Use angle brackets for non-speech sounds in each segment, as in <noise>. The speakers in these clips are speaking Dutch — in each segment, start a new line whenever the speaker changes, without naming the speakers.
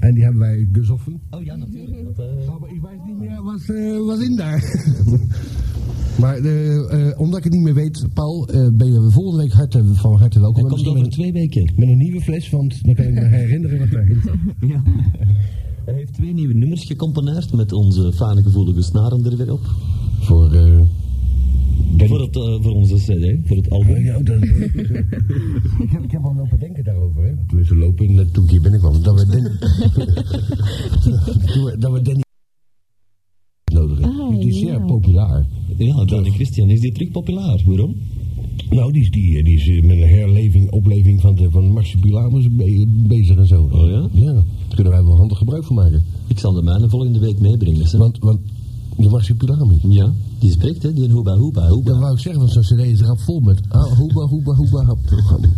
En die hebben wij gezoffen.
Oh ja, natuurlijk. Want, eh,
Ja, maar ik weet niet meer wat, eh, wat in daar. <laughs> maar eh, eh, omdat ik het niet meer weet, Paul, eh, ben je volgende week harte, van harte welkom.
hij
En
komt
misschien
over
met,
twee weken.
met een nieuwe fles, want dan kan ik me herinneren wat daarin staat.
Ja. Hij heeft twee nieuwe nummers gecomponeerd met onze fijne gevoelige snaren er weer op.
<laughs> Voor... eh,
Voor, het, eh, voor onze CD, voor het album.
Ja, dat <laughs> is ik, heb, ik heb al lopen denken daarover, hè. Tenminste, lopen, net toen ik hier binnenkwam. Dat we <laughs> Danny... Toen we- dat we Danny... nodigen.
Ah,
die is zeer
ja.
populair.
Ja, Danny Christian is die truc populair. Waarom?
Nou, die is, die, die is eh, met een herleving, opleving van, de, van marsupilamos be- bezig en zo.
Oh ja?
Ja, daar kunnen wij wel handig gebruik van maken.
Ik zal de mijne volgende week meebrengen. Hè?
Want, want de marsupilami...
Ja, die spreekt, hè? Die een hoeba hoeba hoeba.
Dat wou ik zeggen, want zo'n cd is rap vol met... Ah, hoeba, hoeba, hoeba, hap.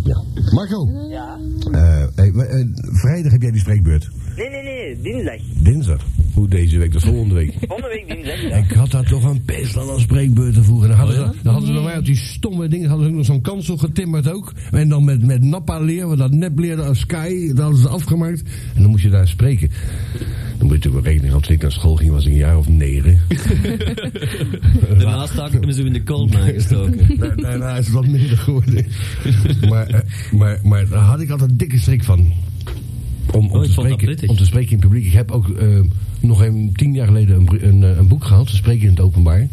Ja. Marco! Ja? Eh, vrijdag heb jij die spreekbeurt.
Nee, nee, nee, dinsdag.
Dinsdag. Hoe deze week, de volgende week.
Volgende week dinsdag.
Ja,
Ja.
Ik had daar toch een pest aan als spreekbeurten vroeger. Dan hadden,
Oh ja?
ze, dan hadden ze bij mij op die stomme dingen hadden ze ook nog zo'n kansel getimmerd ook. En dan met, met nappa leer, want dat nepleer als Sky, dat hadden ze afgemaakt. En dan moest je daar spreken. Dan moet je natuurlijk wel rekening houden. Toen ik naar school ging was ik een jaar of negen.
<laughs> Daarnaast had ik hem zo in de cold <laughs> gestoken.
Da- Daarna is het wat minder
<laughs>
geworden. maar, eh, maar, maar daar had ik altijd een dikke strik van. Om, om,
Oh, ik
te,
vond
spreken,
dat prettig.
om te spreken in het publiek. Ik heb ook eh, nog een, tien jaar geleden een, br- een, eh, een boek gehad. Te spreken in het openbaar.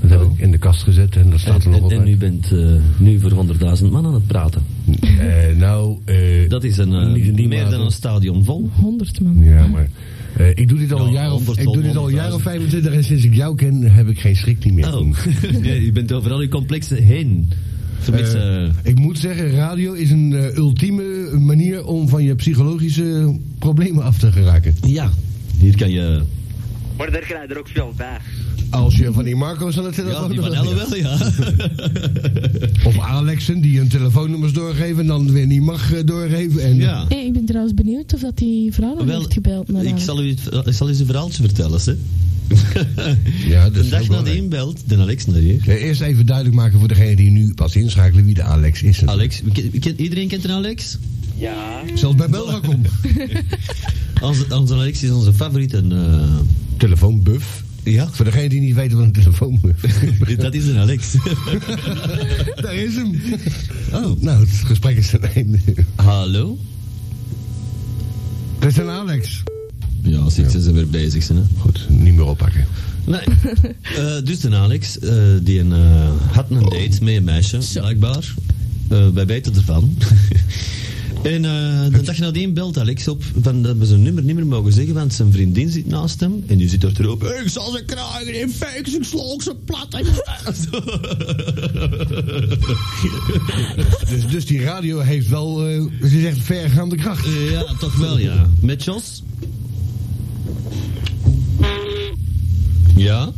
Dat heb ik in de kast gezet en dat staat er
Oh. En,
nog
en, en
altijd.
u bent eh, nu voor 100.000 man aan het praten.
Eh, nou, eh,
Dat is een, eh,
Niet in die
meer
mate.
dan een stadion vol.
100 man.
ja, maar eh, ik doe dit al
Ja,
een jaar of,
honderd
ik
tot
doe dit al een jaar of
100.000.
25 en sinds ik jou ken heb ik geen schrik niet meer.
Oh, <laughs> nee, u bent overal uw complexen heen. Tenminste, eh,
Ik moet zeggen, radio is een eh, ultieme manier om van je psychologische problemen af te geraken.
ja, hier kan je...
<laughs> Maar daar krijg je er ook veel bij.
Als je van die Marco's aan de telefoon
Ja, die van
hebt.
Ellen wel, ja.
Of Alexen die hun telefoonnummers doorgeven en dan weer niet mag eh, doorgeven. En
<laughs> ja.
Hey, ik ben trouwens benieuwd of dat die vrouw nog
Wel,
heeft gebeld. eh, naar
ik
haar.
zal, u, het- ik zal u eens een verhaaltje vertellen, hè.
Ja, dat is
de dag
ook
na de
belangrijk.
inbelt, de Alex naar hier.
Eh, Eerst even duidelijk maken voor degene die nu pas inschakelen wie de Alex is.
Alex, ken- ken- iedereen kent een Alex?
Ja.
Zelfs bij Belga kom.
<laughs> Onze, onze Alex is onze favoriete... eh,
Telefoonbuff.
ja,
Voor degene die niet weten wat een telefoonbuff is.
<laughs> dat is een Alex.
Daar is hem.
Oh.
Nou, het gesprek is ten einde.
Hallo?
Dat is een Alex.
Ja, zit ze zijn weer bezig, zijn, hè.
Goed, niet meer oppakken.
Nee. <laughs> Eh, dus de Alex, eh, die een, eh, had een date met een meisje, blijkbaar. Eh, wij weten ervan. <laughs> en eh de dag nadien belt Alex op van dat we zijn nummer niet meer mogen zeggen, want zijn vriendin zit naast hem. En die zit er te roepen, ik zal ze krijgen in fakes, ik sla ook ze plat. en zo."
<laughs> Dus, dus die radio heeft wel, eh ze zegt, vergaande kracht.
Eh, ja, toch wel, ja. Met Jos? Ja?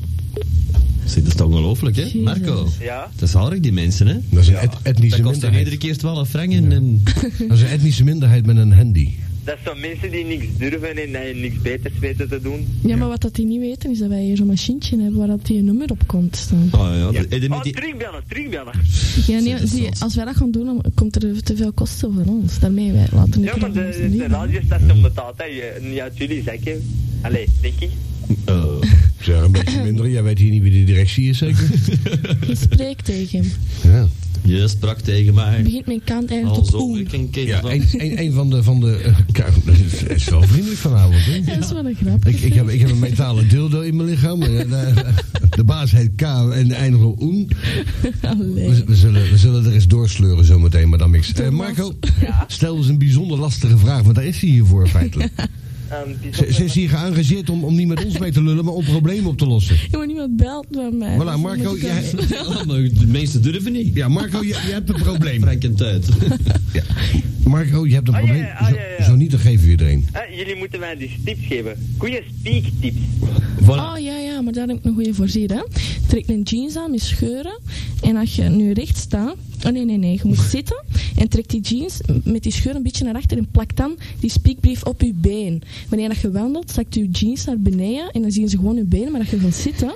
Zit dat is toch ongelooflijk, hè?
Jezus.
Marco.
Ja.
Dat is haarig, die mensen, hè?
Dat is een et- etnische
Dat kost in
minderheid.
iedere keer 12 frank en... en-
Dat is een etnische minderheid met een handy.
Dat zijn mensen die niks durven en dat je niks beters weten te doen.
Ja, maar wat dat die niet weten is dat wij hier zo'n machientje hebben waar dat die nummer op komt staan.
Oh ja, de- eh, de-
Oh,
die-
terugbellen, terugbellen.
Ja, nee,
dat is
zie,
zot.
als wij dat gaan doen, dan komt er te veel kosten voor ons. Daarmee wij laten
Ja, maar
het
de, de radiostation betaalt dat je- niet uit jullie zakken. Allee, denk ik.
eh,
Zeg, een beetje minder. Jij weet hier niet wie de directie is, zeker?
Je spreekt tegen hem.
Ja.
je sprak tegen
Je
mij.
begint mijn
Al
kant eigenlijk tot
zo
oem.
ik een kind
Ja,
van-
een, een, een van de... Van de eh, kijk, dat is- dat is wel vriendelijk vanavond, hè?
Dat is wel een grap.
Ik, ik, heb, ik heb een metalen dildo in mijn lichaam. eh, De, de baas heet K en eindigt op Oen. We,
<laughs> Allee.
we zullen, we zullen er eens doorsleuren zometeen, madame X. Eh, Marco, stel eens een bijzonder lastige vraag, want daar is hij hier voor
<laughs>
feitelijk.
Um, die
Ze, ze is hier geëngageerd om, om niet met ons mee te lullen, maar om problemen op te lossen.
Jongen, niemand belt van mij. Dus
Voilà, Marco, jij,
Ja, maar de meesten durven niet.
ja, Marco, je, je hebt een probleem.
Frank en tijd.
Marco, je hebt een
Ah, ja,
probleem.
ja, ja, ja.
Zo, zo niet, dan geven we je er een.
Ah, jullie moeten mij dus tips geven. Goeie speaktips.
<laughs> Voilà.
Oh ja, ja, maar daar heb ik een goede voor zin, hè. Trek een jeans aan met scheuren. En als je nu recht staat... Oh nee, nee, nee.
<laughs>
Je moet zitten en trek die jeans met die scheur een beetje naar achter en plak dan die spiekbrief op je been. Wanneer dat je wandelt, zakt je jeans naar beneden en dan zien ze gewoon je benen. Maar als je gaat zitten,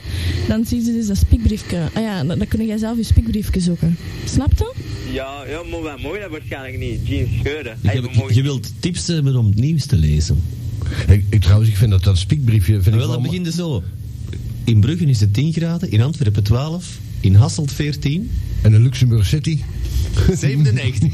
dan zien ze dus dat spiekbriefje. Ah ja, dan, dan kun jij zelf je spiekbriefje zoeken. Snap je?
Ja, ja, maar wij mogen dat waarschijnlijk niet. Jeans scheuren.
Je,
Hey, we
hebt- je
mogen-
wilt tips hebben om het nieuws te lezen.
Ik, ik, trouwens, ik vind dat dat spiekbriefje... Vind ik
Wel, dat
wel
begint dus zo. In Bruggen is het 10 graden, in Antwerpen 12, in Hasselt 14,
En de Luxemburg City.
<laughs> 97.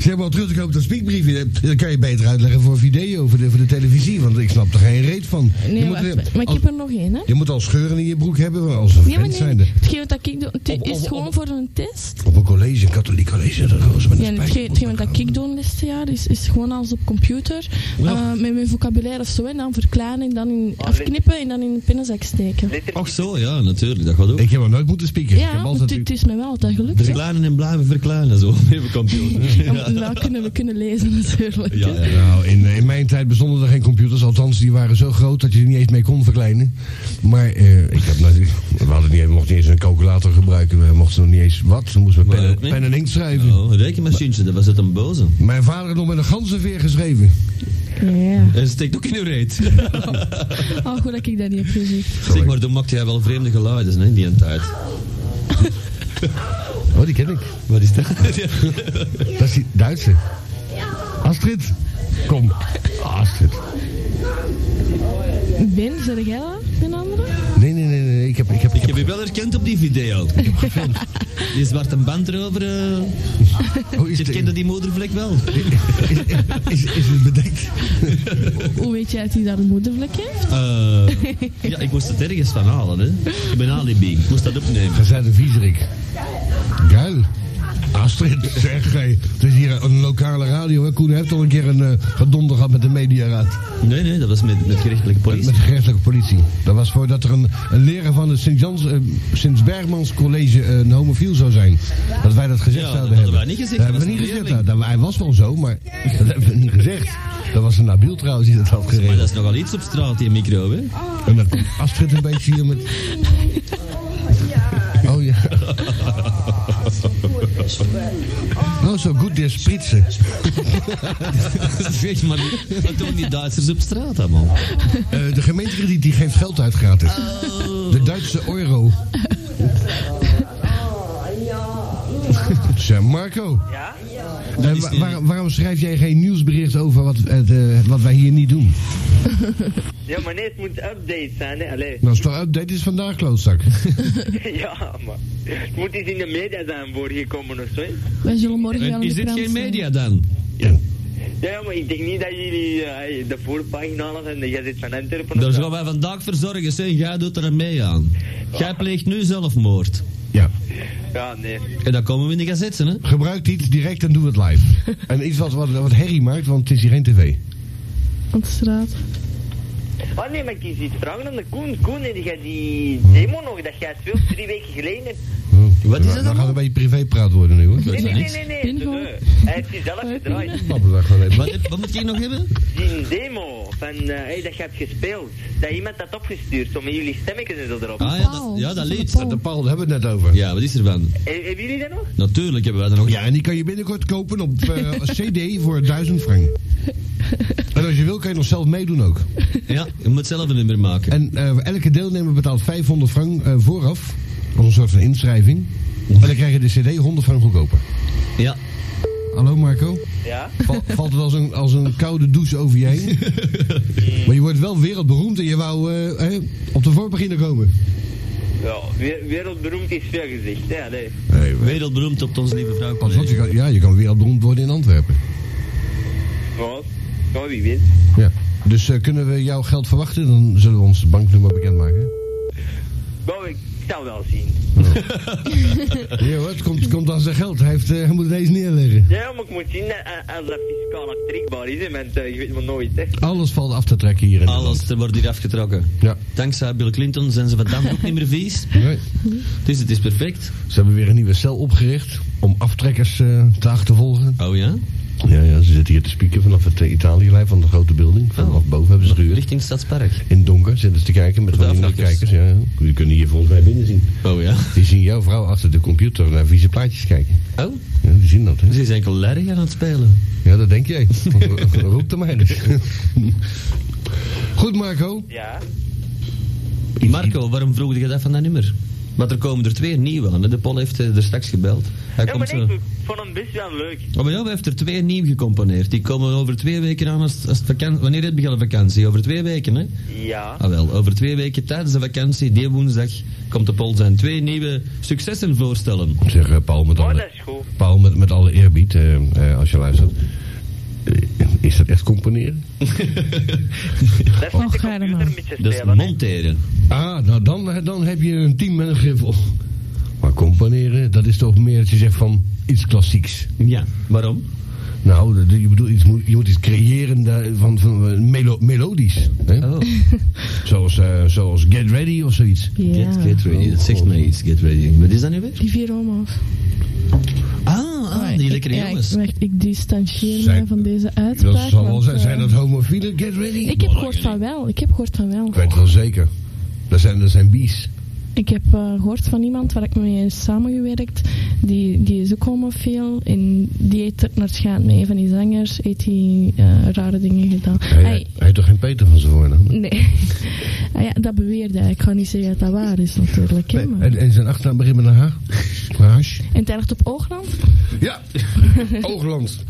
zeg maar, terug te komen op dat spiekbriefje. Dat kan je beter uitleggen voor video, voor de, voor de televisie. Want ik snap er geen reet van.
Nee,
je, moet,
wacht,
er-
maar ik
als,
heb er nog één, hè?
je moet al scheuren in je broek hebben als een
Ja, maar
vent zijnde.
nee. Hetgeen wat ik doe, het
Op-
is
op-
gewoon
op-
voor een test.
Op een college, een katholiek college, dat was met een
Ja, en
spijker.
hetgeen, hetgeen wat ik doe dit jaar is, is gewoon alles op computer.
Ja.
eh, met mijn vocabulaire of zo. En dan verklaren en dan in afknippen en dan in de pinnenzak steken.
Letter
Ach zo, ja, natuurlijk, dat gaat ook.
Ik heb nog nooit moeten spieken. ik
Ja,
heb
want
altijd...
het, het is mij wel altijd gelukt. hè.
Verklaren en blijven verklaren, <laughs> zo, met mijn computer.
Ja, maar nou kunnen we kunnen lezen <laughs> natuurlijk.
Ja, ja.
Nou, in, in mijn tijd bestonden er geen computers. Althans, die waren zo groot dat je er niet eens mee kon verkleinen. Maar eh, ik heb natuurlijk, we hadden niet, we mochten niet eens een calculator gebruiken. We mochten nog niet eens wat. We moesten met
Maar
pen,
ook niet.
pen en inkt schrijven.
Oh, rekenmachientje, dat was het een boze.
Mijn vader had nog met een ganzenveer geschreven.
Ja.
En ze steekt ook in uw reet.
Oh, goed dat ik dat niet heb gezien.
<laughs> Zeg maar, toen maakte jij wel vreemde geluiden, hè, die een tijd.
Oh, die ken ik.
Wat <laughs> is dat?
Dat is die Duitse. Astrid. Kom. Ah, Astrid.
Ben, zeg jij dat? Een andere?
Nee, nee, nee, nee. Ik heb, ik heb, ik <laughs>
Ik heb
heb,
je wel herkend op die video. Ik heb gefilmd. Die zwarte band erover. eh,
oh, is,
je
het-
herkende die moedervlek wel.
is, is, is het bedekt?
Hoe weet jij dat hij daar een moedervlek heeft?
Ah.
Eh, ja, ik moest het ergens van halen, hè. Ik ben alibi. Ik moest dat opnemen.
Ze zijn een viezerik. Geil. Astrid, zeg, hey, het is hier een lokale radio. Hè? Koen heeft al een keer een eh, gedonder gehad met de mediaraad.
Nee, nee, dat was met, met gerechtelijke
Met
politie.
de gerechtelijke politie. Dat was voordat er een, een leraar van het Sint-Jans, eh, Sint-Bergmans College eh, een homofiel zou zijn. Dat wij dat gezegd
Ja, dat
zouden
hadden
hebben.
wij niet gezegd,
Dat
dat
hebben we
was
niet
een
gezegd.
leerling.
Dat, dat- hij was wel zo, maar <laughs> dat hebben we niet gezegd. Dat was een Nabil trouwens die dat had
Maar dat
geregeld.
is nogal iets op straat, die micro, hè. <laughs>
En dat komt Astrid een beetje hier met... Oh ja. Oh, zo goed weer spritsen.
Weet je maar, niet. wat doen die Duitsers op straat allemaal?
Eh, de gemeentekrediet die geeft geld uit gratis. De Duitse euro. Zeg Marco,
Ja?
eh, wa- waar- waarom schrijf jij geen nieuwsbericht over wat, het, eh, wat wij hier niet doen?
Ja, maar nee, het moet update zijn, hè. Allee.
Nou, is toch update is vandaag, klootzak.
<laughs> Ja, maar het moet eens in de media zijn voorgekomen of zo. hè.
Wij zullen morgen wel
En
in
is
de
dit
krant
geen
zijn.
media dan?
Ja, ja, maar ik denk niet dat jullie eh, de voorpagina halen en de Gazet van Antwerpen... of
Daar
zo.
gaan wij vandaag voor zorgen, hè. Jij doet er mee aan. Jij pleegt nu zelfmoord.
Ja,
Ja, nee.
En dan komen we in de gazetten, hè.
gebruik iets direct en doe het live. En iets wat, wat, wat herrie maakt, want het is hier geen tv.
Op straat.
Oh nee, maar ik is iets vragen aan de Koen. Koen, heb jij die demo nog dat jij speelt drie weken geleden hebt?
Wat is
Dan
het
gaat het
dan?
een beetje privépraat worden nu, hoor.
Nee, nee, nee,
niks.
nee, nee.
Bingo.
nee, nee. Hij heeft die zelf gedraaid.
Babbel daar gewoon even.
Wat, heb- wat moet ik nog hebben?
Die demo van eh, hey, dat je hebt gespeeld. Dat iemand dat opgestuurd, zo met jullie stemmetjes en zo erop.
Ah ja, dat, ja, dat lied.
De Paul, daar hebben we het net over.
Ja, wat is er van?
He- Eh, hebben jullie dat nog?
Natuurlijk hebben wij er nog.
Ja, en die kan je binnenkort kopen op eh, CD voor 1000 frank. En als je wil, kan je nog zelf meedoen ook.
Ja, je moet zelf een nummer maken.
En eh, elke deelnemer betaalt 500 frank eh, vooraf. Als een soort van inschrijving. En dan krijg je de CD 100 frank goedkoper.
Ja.
Hallo Marco.
Ja?
Val- valt het als een, als een koude douche over je heen? Maar je wordt wel wereldberoemd en je wou eh, eh, op de voorpagina komen.
Ja, we- wereldberoemd is veel gezegd. Ja, nee.
Nee,
Wereldberoemd op onze lieve vrouw.
Pas wat, je
collega.
kan, ja, je kan wereldberoemd worden in Antwerpen.
Maar, ja, wie weet.
Ja. Dus eh, kunnen we jouw geld verwachten? Dan zullen we ons banknummer bekendmaken.
Nou, ik zal wel zien.
Ja hoor, het komt, komt aan zijn geld. Hij, heeft, eh, hij moet deze neerleggen.
Ja, maar ik moet zien dat, eh, als dat fiscaal aftrekbaar is, hè, want eh, je weet maar nooit, hè.
Alles valt af te trekken hier in
Alles, er wordt hier afgetrokken.
Ja.
Dankzij Bill Clinton zijn ze vandaag ook niet meer vies.
Nee.
Dus het is perfect.
Ze hebben weer een nieuwe cel opgericht om aftrekkers eh, te achtervolgen.
Oh ja?
Ja, ja, ze zitten hier te spieken vanaf het eh, Italië-lijf van de grote building. Vanaf boven hebben ze gehuurd.
Richting Stadspark.
In het donker zitten ze te kijken met
Met
van die
afkijkers.
nachtkijkers. Ja, ja. Die kunnen hier volgens mij binnen zien.
Oh ja?
Die zien jouw vrouw achter de computer naar vieze plaatjes kijken.
Oh,
Ja, die zien dat, hè?
ze is enkel lerg aan het spelen.
Ja, dat denk jij. <laughs> Roep de <laughs> mij dus. Goed, Marco.
Ja.
Marco, waarom vroeg je dat van dat nummer? Maar er komen er twee nieuwe aan. hè. De Paul heeft eh, er straks gebeld. Hij
Ja,
komt
maar
zo...
ik vond hem best wel leuk.
Oh, maar ja, hij heeft er twee nieuw gecomponeerd. Die komen over twee weken aan als, als het vakantie... Wanneer heb je al vakantie? Over twee weken, hè?
Ja.
Ah wel, over twee weken tijdens de vakantie, die woensdag, komt de Paul zijn twee nieuwe successen voorstellen.
Zeg, eh, Paul, met
Oh, dat
alle,
is goed.
Paul, met, met alle eerbied, eh, eh, als je luistert. eh, Is dat echt componeren?
Dat is met de
ga je
computer
maar.
een beetje
Dat is
spelen. hè.
monteren.
Ah, nou dan, dan heb je een team met een griffel. Maar componeren, dat is toch meer dat je zegt van iets klassieks.
Ja. Waarom?
Nou, dat- je bedoelt, iets, moet- je moet iets creëren daar- van, van eh, melo- melodisch. Hè?
Oh,
<laughs> Zoals, eh, zoals Get Ready of zoiets.
get,
Ja.
get ready. Dat zegt mij iets, get ready. Wat is dat nu weer?
Die vier homo's.
Ah, ah die lekkere
ja,
jongens.
Ik, wacht, ik distancieer
Zijn-
mij van deze uitspraak.
Dat zal wel
want,
zijn.
eh,
Zijn dat homofielen? Get Ready?
Ik heb gehoord van wel. Ik heb gehoord van wel.
Ik weet het wel zeker. Dat zijn, dat zijn bies.
Ik heb eh, gehoord van iemand waar ik mee heb samengewerkt. Die, die is ook homofiel. En die heeft er naar het schijnt met een van die zangers. Heeft die eh, rare dingen gedaan.
Hij,
Hij-
hij heeft toch geen Peter van zijn voornaam?
nee. Ah ja, dat beweerde hij. Ik ga niet zeggen dat dat waar is natuurlijk. hè, maar-
En, en zijn achternaam begint met een <laughs> H? Haas?
En het eindigt op Oogland.
Ja! Oogland.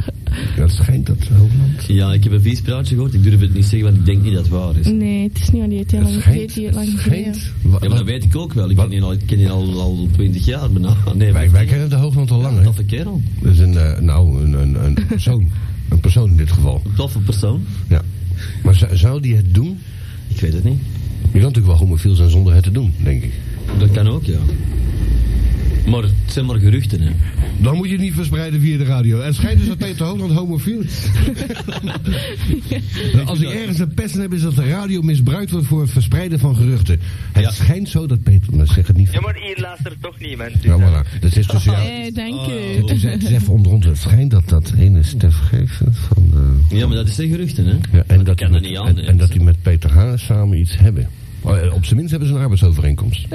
Dat schijnt dat, Oogland.
Ja, ik heb een vies praatje gehoord. Ik durf het niet zeggen, want ik denk niet dat het waar is.
Nee, het is niet waar die heeft heel
Dat
lang, die heeft
schijnt.
heel
dat
lang geleden.
schijnt. Wa-
Ja, maar dat weet ik ook wel. Ik ken die al, ik ken die al, al 20 jaar bijna. <laughs> Nee,
Wij, wij kennen de Hoogland al lang, hè?
toffe kerel.
Dat is een, eh, nou, een, een, een persoon. Een persoon in dit geval.
Een toffe persoon.
Ja. Maar zou, zou die het doen?
Ik weet het niet.
Je kan natuurlijk wel homofiel zijn zonder het te doen, denk ik.
Dat kan ook, ja. Maar het zijn maar geruchten, hè.
Dan moet je het niet verspreiden via de radio. Het schijnt dus dat Peter Hoogland homofiel is. Nou, Als ik ergens een pest in heb, is dat de radio misbruikt wordt voor het verspreiden van geruchten. Het
Ja.
schijnt zo dat Peter... Dat zeg het niet.
Ja,
Ja,
maar hier luistert toch niemand. Dus, eh,
voilà. Dat is tussen jou.
Eh,
oh,
dank u.
Het is, het is even onder ons. Het schijnt dat dat ene Stef Geefsen van... de-
Ja, maar dat is zijn geruchten, hè.
Ja, en, dat die
kan er
met-
niet
en,
anders.
en dat die met Peter H. samen iets hebben. Oh, eh, Op zijn minst hebben ze een
<laughs>
arbeidsovereenkomst.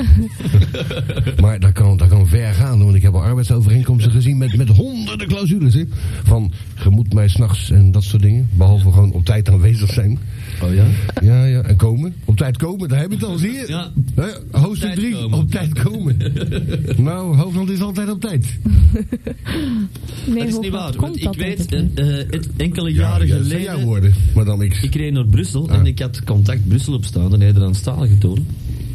maar dat kan, dat kan ver gaan, want ik heb al arbeidsovereenkomsten gezien met, met honderden clausules. Hè? Van, je moet mij s'nachts en dat soort dingen. Behalve gewoon op tijd aanwezig zijn.
Oh ja?
Ja, ja, en komen. Op tijd komen, daar heb je het al, zie je?
Ja.
Hè, hoofdstuk
Op tijd
3,
komen.
op tijd
<laughs>
komen. nou, Hoogland is altijd op tijd.
Nee,
dat is niet
Hoogland
waar.
komt
want ik
dat
weet,
eigenlijk
eh, eh, het- enkele jaren
ja, dat zijn jouw
geleden...
woorden, madame X.
ik reed naar Brussel en ik had contact Brussel op staan, de Nederlandstalige toen.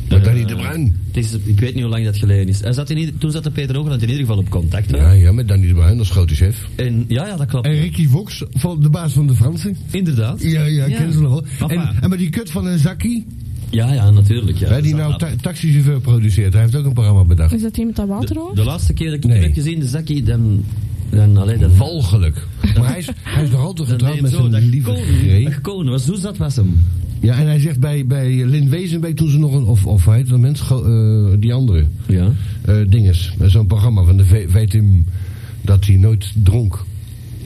Met
Eh,
Danny de Bruin.
het is- ik weet niet hoe lang dat geleden is. Hij zat in ieder- toen zat de Peter Hoogland in ieder geval op contact. hè.
Ja, ja, met Danny de Bruin als grote chef.
En, ja, ja, dat klopt.
En Ricky Vox, van de baas van de Fransen.
Inderdaad.
Ja, ja, ik
Ja.
ken ze nog wel.
Papa.
En, en met die kut van een zakkie,
Ja, ja, natuurlijk. Ja,
hè, die
Dat is
nou
knap.
ta taxichauffeur produceert, hij heeft ook een programma bedacht.
hè. Is dat die met dat waterhoofd?
De laatste keer dat ik
Nee. Mm.
hem heb gezien, de zakkie, dan... dan allee, dan
Walgelijk. <laughs> Maar hij is, hij is nog altijd
Dan
getrouwd
deed
met
zo,
zijn
dat
lieve
kon-
Gree.
dat kon, was, zo zat was hem.
Ja, en hij zegt bij, bij Lin Wezenbeek toen ze nog een, of, of hij heet dat mens, Go- eh, die andere,
Ja.
eh dinges, eh, zo'n programma van de V- VTM, dat hij nooit dronk.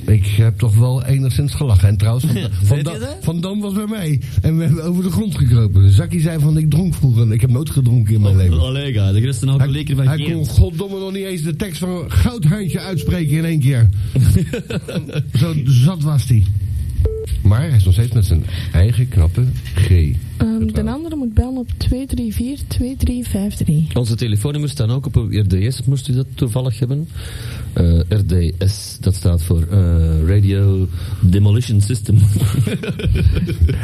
Ik heb toch wel enigszins gelachen. En trouwens,
<laughs>
Van, van,
Weet je
Dam-
dat?
Van Dam was bij mij. En we hebben over de grond gekropen. Zakkie zei van, ik dronk vroeger. Ik heb nooit gedronken in mijn leven.
Allee, ga, de rest een alcoholieker Oh, van
hij
Gent.
kon goddomme nog niet eens de tekst van Goudhandje uitspreken in één
<laughs>
keer. Zo zat was hij. Maar hij is nog steeds met zijn eigen knappe G.
Ehm, de andere moet bellen op 234-2353.
Onze telefoonnummers staan ook op uw RDS, moest u dat toevallig hebben. Eh, RDS, dat staat voor eh, Radio Demolition System.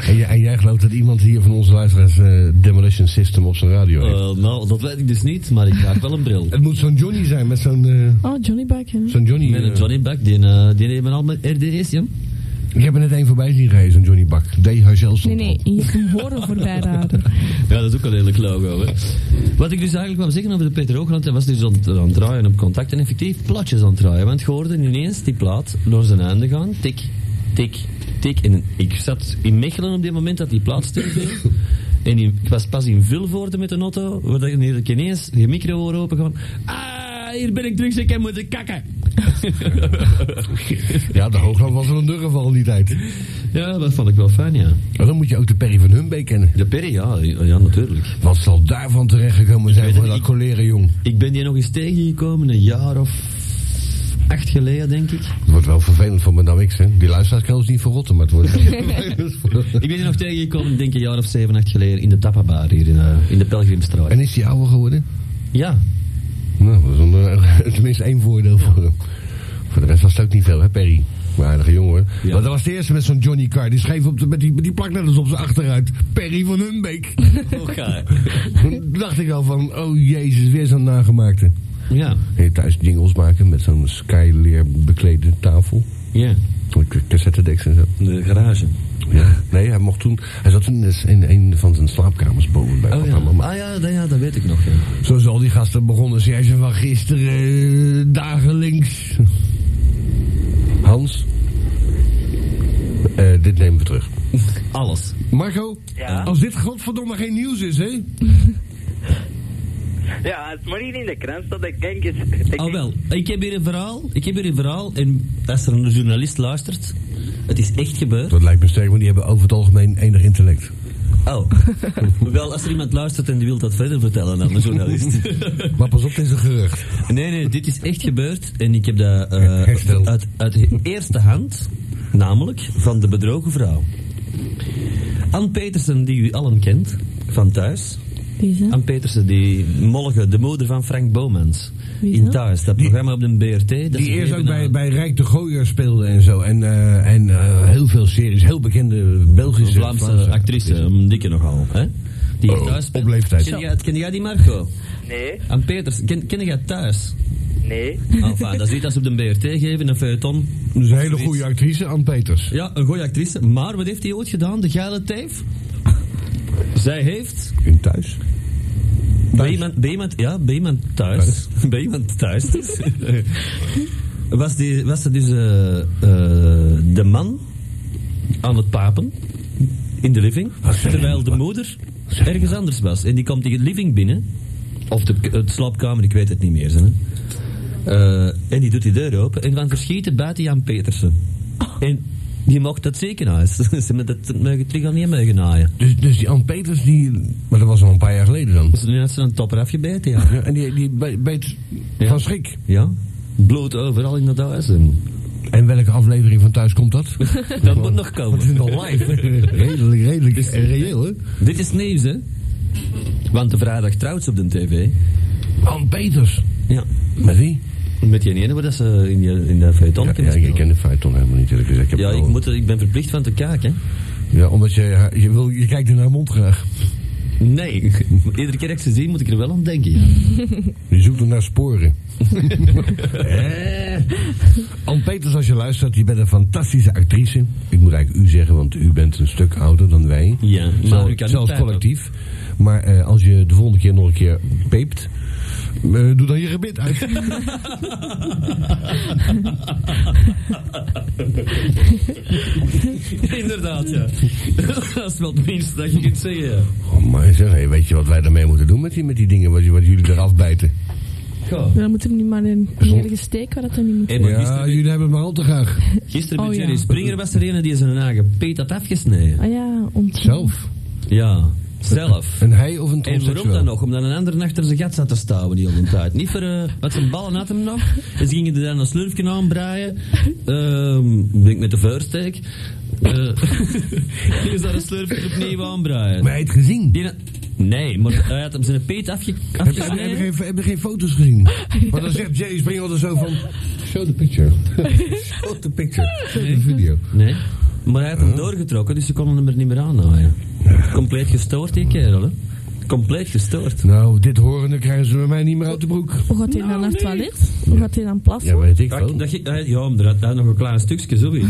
En, jij- en jij gelooft dat iemand hier van onze luisteraars eh, Demolition System op zijn radio heeft.
Eh, nou, dat weet ik dus niet, maar ik draag wel een bril.
Het moet zo'n Johnny zijn met zo'n eh,
Oh, Johnny Buchan.
zo'n Johnny.
Met een
eh,
Johnny Buck, die, eh die nemen al met RDS, ja?
ik heb er net één voorbij zien rijden, zo'n Johnny Bak. D. Hazel
Nee,
stond
nee,
erop.
je moet hem horen voorbij raden.
Ja, dat is ook een lelijk logo, hè. Wat ik dus eigenlijk wou zeggen over de Peter Hoogland, hij was dus aan, het- aan het draaien op contact en effectief plaatjes aan het draaien. Want je hoorde ineens die plaat door zijn einde gaan, tik, tik, tik. En ik zat in Mechelen op dit moment dat die plaat stilviel. En in- ik was pas in Vilvoorde met een auto, waar ik ik ineens je micro hoor open gaan. Ah, hier ben ik terug, zeg, ik heb moeten kakken.
Ja, de Hoogland was wel een durgeval in die tijd.
Ja, dat vond ik wel fijn, ja.
Maar dan moet je ook de Perry van Humbeek kennen.
De Perry, ja, ja, natuurlijk.
Wat zal daarvan terechtgekomen zijn
weet
voor
het
dat
niet.
coleren jong?
Ik ben die nog eens tegengekomen, een jaar of acht geleden, denk ik.
Het wordt wel vervelend voor Madame X, hè? Die luisteraars kan ons niet verrotten, maar het wordt wel vervelend voor-
<laughs>
Ik ben hier nog tegengekomen, denk ik, een jaar of zeven, acht geleden in de Tappabar hier in, eh, in de Pelgrimstraat.
En is die ouder geworden?
Ja.
Nou, dat is een, eh, <laughs> tenminste één voordeel voor hem. Voor de rest was het ook niet veel, hè Perry? Waardige jongen hoor.
Ja.
Maar dat was de eerste met zo'n Johnny Carr. Die schreef op de, met die, met die plaknetters op zijn achteruit. Perry van Humbeek.
Oké.
Toen dacht ik al van, oh jezus, weer zo'n nagemaakte.
Ja.
Kun je thuis jingles maken met zo'n skyleer beklede tafel.
Ja.
Met k- cassettedeks en zo.
De garage.
Ja. Nee, hij mocht toen... Hij zat toen dus in een van zijn slaapkamers boven bij
Oh
papa
ja.
en mama.
Ah ja, dat, ja, dat weet ik nog. Ja.
Zoals al die gasten begonnen, zei ze van gisteren, eh, dagenlinks. Hans, eh, dit nemen we terug.
Alles.
Marco,
Ja?
als dit godverdomme geen nieuws is, hè?
Ja, het maar hier in de krant staat, ik denk eens... Ik
Oh wel, ik heb hier een verhaal. Ik heb hier een verhaal. En als er een journalist luistert, het is echt gebeurd.
Dat lijkt me sterk, want die hebben over het algemeen enig <laughs> intellect.
Oh. wel, als er iemand luistert en die wil dat verder vertellen aan de journalist.
Maar pas op, dit is een gerucht.
nee, nee, dit is echt gebeurd. En ik heb dat eh,
Herstel.
uit, uit eerste hand, namelijk van de bedrogen vrouw. Ann Petersen, die u allen kent, van thuis.
Deze.
Ann Petersen, die mollige, de moeder van Frank Bomans.
Wie is
In
dat?
thuis, dat programma op de BRT. dat
Die
ze
eerst ook
geven
bij,
aan-
bij Rijk de Gooier speelde en zo. En, eh, en eh, heel veel series, heel bekende Belgische...
Een Vlaamse actrice, een dikke nogal. Hè? Die
Oh,
thuis speelt.
op leeftijd.
Ken jij, ken jij die Marco?
Nee,
Aan Peters, ken, ken jij thuis? Ah,
nee.
Enfin, dat is iets als ze op de BRT geven, een feuilleton.
Dus een hele goede actrice, Ann Peters.
Ja, een goede actrice. Maar wat heeft hij ooit gedaan, de geile teef? Zij heeft
In thuis.
bij iemand, bij iemand, ja, bij iemand thuis, <laughs> bij
<laughs>
iemand thuis dus, was, die, was ze dus eh, eh, de man aan het papen in de living,
zeg je?
terwijl de moeder
zeg je
ergens anders was. En die komt in de living binnen, of de, k- het slaapkamer, ik weet het niet meer. Hè. Eh, en die doet die deur open en van verschieten buiten Jan Petersen. En die mocht dat zeker huis. <laughs> ze hebben dat mogen terug aan die mogen naaien.
Dus, dus die Ann Peters, die... Maar dat was al een paar jaar geleden dan.
Dus nu had ze een topper afgebeten, ja.
Ja, en die, die be- beet
Ja.
van schrik.
Ja? Bloed overal in dat huis. En
En welke aflevering van thuis komt dat?
<laughs> dat moet nog
Dat is
komen.
nog live. <laughs> redelijk, redelijk en reëel, hè?
<laughs> Dit is nieuws, hè? Want de vrijdag trouwt ze op de tv.
Ann Peters.
Ja.
Met wie?
Met die ene waar dat ze in, die, in de feuilleton
Ja,
kunnen
ja, ik
spelen.
ken de Faiton helemaal niet, eerlijk gezegd. Ik heb
Ja, ik,
wel-
moet, er- ik ben verplicht van te kijken. hè.
Ja, omdat je, je, wil, je kijkt in haar mond graag.
Nee, <laughs> iedere keer dat ik ze zie, moet ik er wel aan denken. ja.
Je zoekt er naar
<laughs>
sporen. Eh. Ann Peters, als je luistert, je bent een fantastische actrice. Ik moet eigenlijk u zeggen, want u bent een stuk ouder dan wij.
Ja, maar
Zelf-
u kan niet
zelfs
pijpen.
collectief. Maar eh, als je de volgende keer nog een keer peept, eh, doe dan je gebit uit.
<laughs> <laughs> Inderdaad, ja. <laughs> dat is wel het minste dat je kunt zeggen. Ja.
Oh, maar zeg, hey, weet je wat wij daarmee moeten doen met die, met die dingen wat, je- wat jullie eraf bijten?
Goh.
Dan moet hem nu maar in ergens steken waar dat hem niet moet.
Hey, maar
ja,
gisteren,
jullie hebben het maar al te graag.
gisteren met
Oh, ja.
Jerry Springer was er een die zijn eigen peet had afgesneden.
Ah ja, ontzettend.
Zelf.
Ja, zelf.
Een hij of een
En waarom
transseksueel?
dan nog? Omdat een ander achter zijn gat zat te stouwen die hele tijd. Niet voor, eh, wat zijn ballen had hem nog. En ze gingen er dan een slurfje aanbraaien. Ehm, ik denk met de vuursteek. Eh <laughs> gingen ze daar een slurfje opnieuw aanbraaien.
Maar hij heeft gezien.
Die na- nee, maar hij had hem zijn peet afge,
Heb je, heb je
afgesneden.
geen, heb je geen foto's <laughs> gezien? Maar dan zegt Jerry Springer altijd zo van... Show the <laughs> picture. Show the picture. Show the video.
Nee. Maar hij had hem doorgetrokken, dus ze konden hem er niet meer aanhouden. Compleet gestoord die kerel, hè. Compleet gestoord.
Nou, dit horende krijgen ze bij mij niet meer uit de broek.
Hoe gaat hij dan naar het toilet? Hoe gaat hij dan plassen?
Nou, Ja, weet ik
Dat,
wel.
dat, ge- hij- ja, maar hij had nog een klein stukje, zo weet ik.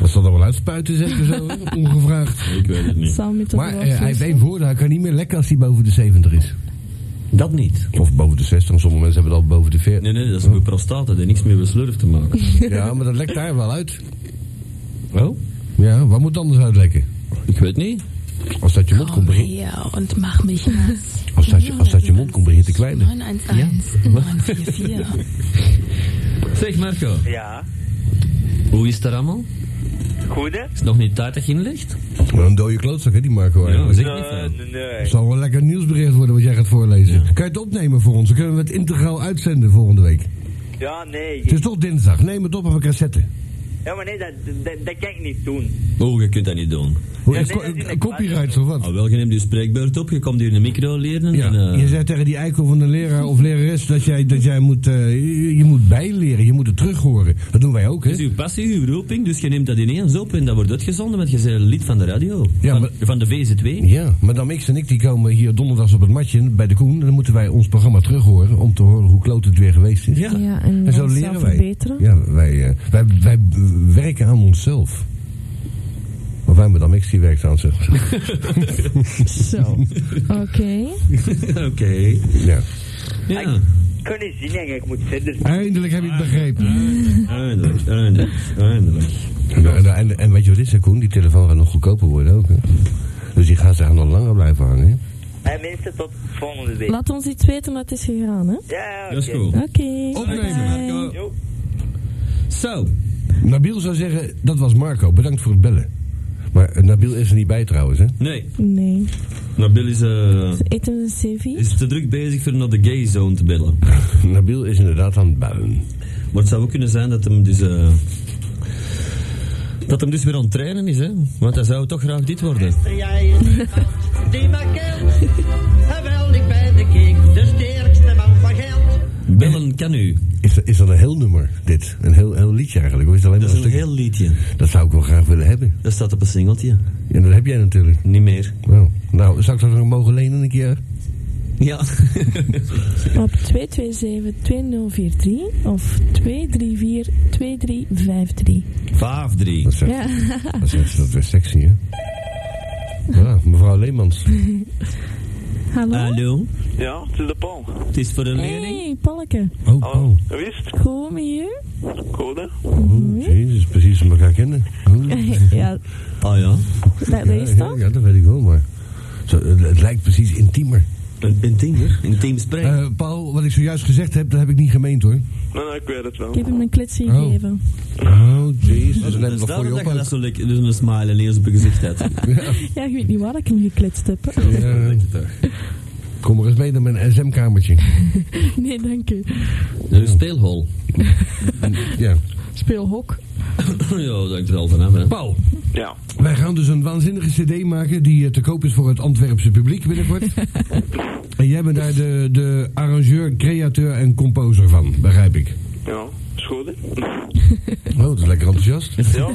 Wat zal er wel uitspuiten, zeg je zo, <laughs> ongevraagd.
Ik weet het niet.
Samen met de
Maar eh, hij
roodvlees.
heeft één voordeel, hij kan niet meer lekker als hij boven de 70 is.
Dat niet.
Of boven de 60, sommige mensen hebben het al boven de 40.
Nee, nee, dat is mijn prostaat. Dat heeft niks meer met slurf te maken. <laughs>
Ja, maar dat lekt daar wel uit.
Oh?
Ja, wat moet anders uitlekken?
Ik weet niet.
Als dat je mond komt beginnen,
Ja, und mach mich <laughs> nass.
als dat je, als dat je mond komt beginnen te kwijlen.
911
<laughs>
944.
Zeg Marco,
Ja,
hoe is het er allemaal?
goed hè?
Is het nog niet tijd dat je inlicht?
Wel een dode klootzak, hè, die Marco. eigenlijk.
zeg niet
Nee,
veel.
nee, Eh, nee.
Het zal wel lekker nieuwsbericht worden wat jij gaat voorlezen. Kan je het opnemen voor ons? Dan kunnen we het integraal uitzenden volgende week.
Ja, nee.
Het is toch dinsdag. Neem het op op een cassette.
Ja, maar nee, dat, dat, dat kan ik niet doen.
Oh, je kunt dat niet doen.
Hoe
Ja,
is
nee,
co-
dat is
eh,
een
copyright of wat?
Ah, wel, je neemt je spreekbeurt op, je komt hier in de micro leren.
Ja,
En, eh,
je zei tegen die eikel van de leraar of lerares dat jij, dat jij moet, eh, je, je moet bijleren, je moet het terughoren. Dat doen wij ook,
Het
hè?
is uw passie, uw roeping, dus je neemt dat ineens op en dat wordt uitgezonden, want je bent een lid van de radio.
Ja,
van,
maar-
van de VZ2.
Ja, madame X en ik die komen hier donderdags op het matje bij de Koen. En dan moeten wij ons programma terughoren om te horen hoe kloot het weer geweest is.
Ja.
Ja, en,
En zo
onszelf
leren wij.
verbeteren.
Ja, wij, eh, wij, wij eh, werken aan onszelf. Of wij madame X die werkt aan zichzelf.
Zo.
Oké.
<laughs> Oké.
Ja.
Ja.
Ik kan niet zien, eigenlijk, ik moet verder.
Eindelijk heb je het begrepen.
Eindelijk, eindelijk, eindelijk.
En, en- en- en weet je wat is, hè, Koen? Die telefoon gaat nog goedkoper worden ook. Hè? Dus die gaat daar nog langer blijven hangen. hè?
En mensen, tot volgende week.
Laat ons iets weten wat is gegaan, hè?
Ja,
Dat is
oké.
cool.
Oké.
Opnemen.
Bye.
Jo.
Zo.
Nabil zou zeggen, dat was Marco, bedankt voor het bellen. Maar eh, Nabil is er niet bij trouwens, hè?
Nee,
Nee.
Nabil is, eh,
Ze eten een CV.
is te druk bezig voor naar de gay zone te bellen.
Nabil is inderdaad aan het bellen.
Maar het zou ook kunnen zijn dat hem dus... eh, dat hem dus weer aan het trainen is, hè? Want hij zou toch graag dit worden.
Luister jij in die maar <laughs> geld. En wel, ik ben de king, de sterkste man van geld.
Bellen kan u.
Is, dat- is dat een heel nummer, dit? Een heel, heel liedje eigenlijk? Of is het alleen
Dat
maar
is
een
een
stuk?
heel liedje.
Dat zou ik wel graag willen hebben.
Dat staat op een singeltje.
En dat heb jij natuurlijk.
Niet meer.
Nou, nou zou ik dat nog mogen lenen een keer?
<laughs> Ja.
Op 227-2043 of
5-3.
234-2353.
Dat zegt,
Ja.
<laughs> dat zegt dat is weer sexy, hè? Voilà, mevrouw Leemans.
Hallo?
Hallo,
Ja, het is de Paul.
het is voor een leerling.
Hey, Panneke.
Oh,
Hallo.
oh.
Wie is het?
Kom
<laughs>
hier.
Code?
oh jezus, precies als we elkaar kennen. Oh.
<laughs> Ja,
Ah ja,
dat, dat is
ja,
toch?
ja, dat weet ik wel, maar... Zo, het, het lijkt precies intiemer.
een intiem, hè? Intiem spreken.
Eh, Paul, wat ik zojuist gezegd heb, dat heb ik niet gemeend, hoor.
Nee, nee, Nou, ik weet het wel.
Ik heb hem een klets
Oh.
gegeven.
Oh, jezus. Dus neem
dat
ik
is
nog voor je
daarom
op.
dat je dat zo lekker, dus een smile ineens op je gezicht <laughs> hebt.
Ja, ik weet niet waar ik hem gekletst heb. hè.
Ja. Kom maar eens mee naar mijn SM-kamertje.
<laughs> Nee, dank u.
Een speelhol.
Ja.
Speel hok.
<coughs> ja, dat hangt er wel van af, hè.
Paul,
Ja.
wij gaan dus een waanzinnige cd maken die eh, te koop is voor het Antwerpse publiek binnenkort. en jij bent daar de, de arrangeur, createur en composer van, begrijp ik.
Ja. Is goed, hè?
Oh, dat is lekker enthousiast.
Ja.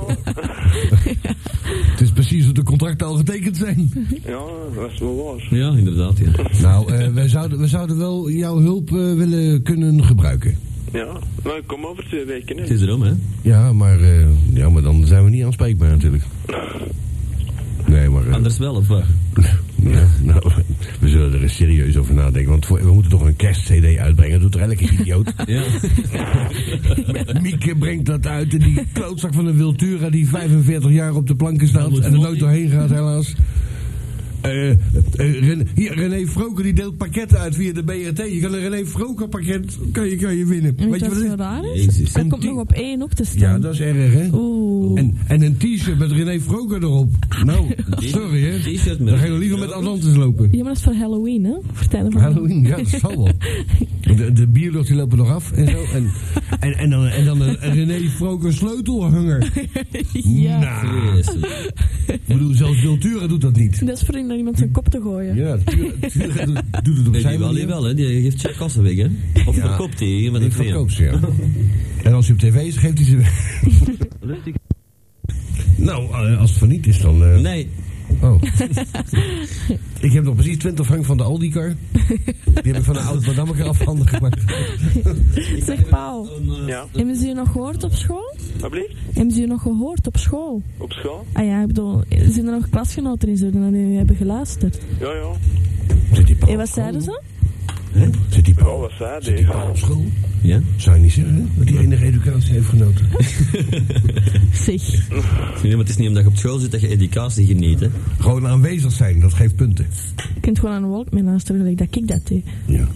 Het is precies hoe de contracten al getekend zijn.
Ja, dat is wel waar.
Ja, inderdaad, ja.
Nou, eh, wij, zouden, wij zouden wel jouw hulp eh, willen kunnen gebruiken.
Ja. Nou, ik kom over twee weken,
Het
hè.
is erom, hè.
Ja, maar, eh, ja, maar dan zijn we niet aanspreekbaar natuurlijk. Nee, maar... eh, <laughs>
Anders wel, of wat?
Ja, nou, we zullen er eens serieus over nadenken. Want voor- we moeten toch een kerstcd uitbrengen. Dat doet er elke idioot.
Ja.
Mieke brengt dat uit. En die klootzak van een Wiltura die 45 jaar op de planken
Dat
staat.
moet
En er
wel
nooit
niet.
doorheen gaat, helaas. Eh, eh, Ren- hier, René Froken die deelt pakketten uit via de BRT. Je kan een René Froken pakket kan je, kan je winnen.
En
Weet je wat
wat
het
zo
is?
raar Mm,
<laughs>
is?
Jezus.
Dat
Een
komt
tien-
nog op één ook te
Ja,
staan.
dat is erg, hè?
Oeh.
En, en een t-shirt met René Froken erop. Nou, sorry, hè?
T-shirt met...
Dan ga je liever met Atlantis lopen.
Ja, maar dat is voor Halloween, hè? Vertel van
Halloween, ja, dat zal wel. De, de bierlucht die lopen nog af en zo. En, en, en, dan, en dan een René Froker sleutelhanger.
Ja.
Nou,
Vreselijk.
ik bedoel, zelfs Wiltura doet dat niet.
Dat is voor naar iemand zijn kop te gooien.
Ja, Tura, Tura doet, doet het op
Nee,
zijn
die wel, die
manier.
wel, hè. Die geeft zijn kassen weg, hè. Of
Ja.
verkoopt die, wat
Die
ik vind.
verkoopt ze, ja.
<laughs>
En als hij op tv is, geeft hij ze weg. Nou, eh, als het van niet is, dan... eh,
Nee,
Oh. ik heb nog precies 20 frank van de Aldi-kar. Die heb ik van een oud madammeke afhandig gemaakt.
Zeg, Paul.
Ja.
Hebben ze je nog gehoord op school?
Wat blijft?
Hebben ze je nog gehoord op school?
Op school?
Ah ja, ik bedoel, zijn er nog klasgenoten in zullen naar je hebben geluisterd?
Ja, ja.
Zit die Paul
En
op
wat
school?
zeiden ze?
Zit die
Ja,
Paul,
wat zei
zit die
die?
Paul op school?
ja.
Zou je niet zeggen, hè? Dat die enige educatie heeft genoten.
Zeg.
Nee, maar het is niet omdat je op school zit dat je educatie geniet, hè.
Gewoon aanwezig zijn, dat geeft punten.
Je kunt gewoon aan een wolk mee luisteren, gelijk dat ik dat deed.
Ja.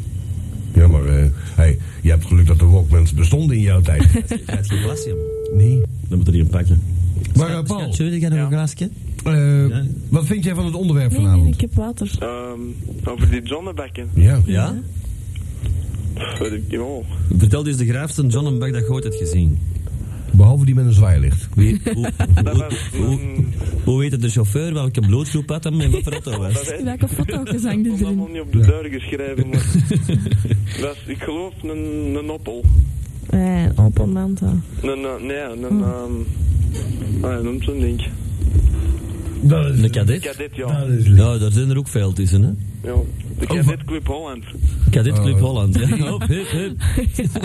Ja, maar eh, hey, je hebt geluk dat de walkmans bestonden in jouw tijd.
Dat is geen klasje, man.
<laughs> nee.
Dan moet er hier een pakken.
Maar eh, Paul,
Schatje, heb jij nog
Ja.
een glaasje?
eh,
Ja.
wat vind jij van het onderwerp
Nee, nee,
vanavond?
ik heb water.
Ehm, over die Johnnebekken.
Ja.
Ja? dus
Weet ik, ja.
Vertel eens de graafste John en Bach dat je ooit hebt gezien.
Behalve die met een zwaailicht.
<laughs>
Wie, hoe,
Dat
hoe,
was
hoe,
mijn...
hoe weet het de chauffeur welke bloedgroep had hem en wat voor auto was?
<laughs> Dat weet ik.
Welke foto gezang
Ik
dit
kon allemaal
erin?
niet op de deur geschreven, maar... dat is, ik geloof, een, een oppel.
Eh, op een manta.
Een, eh, nee, een... ehm ah, ja, noemt zo'n ding.
Dat is,
Een kadet?
Kadet, ja.
dat is lief.
Ja, daar zijn er ook veel tussen, hè.
ja. De Kadet Club Holland.
Kadet Club
Oh.
Holland. Ja,
<laughs>
hop, hup, hup.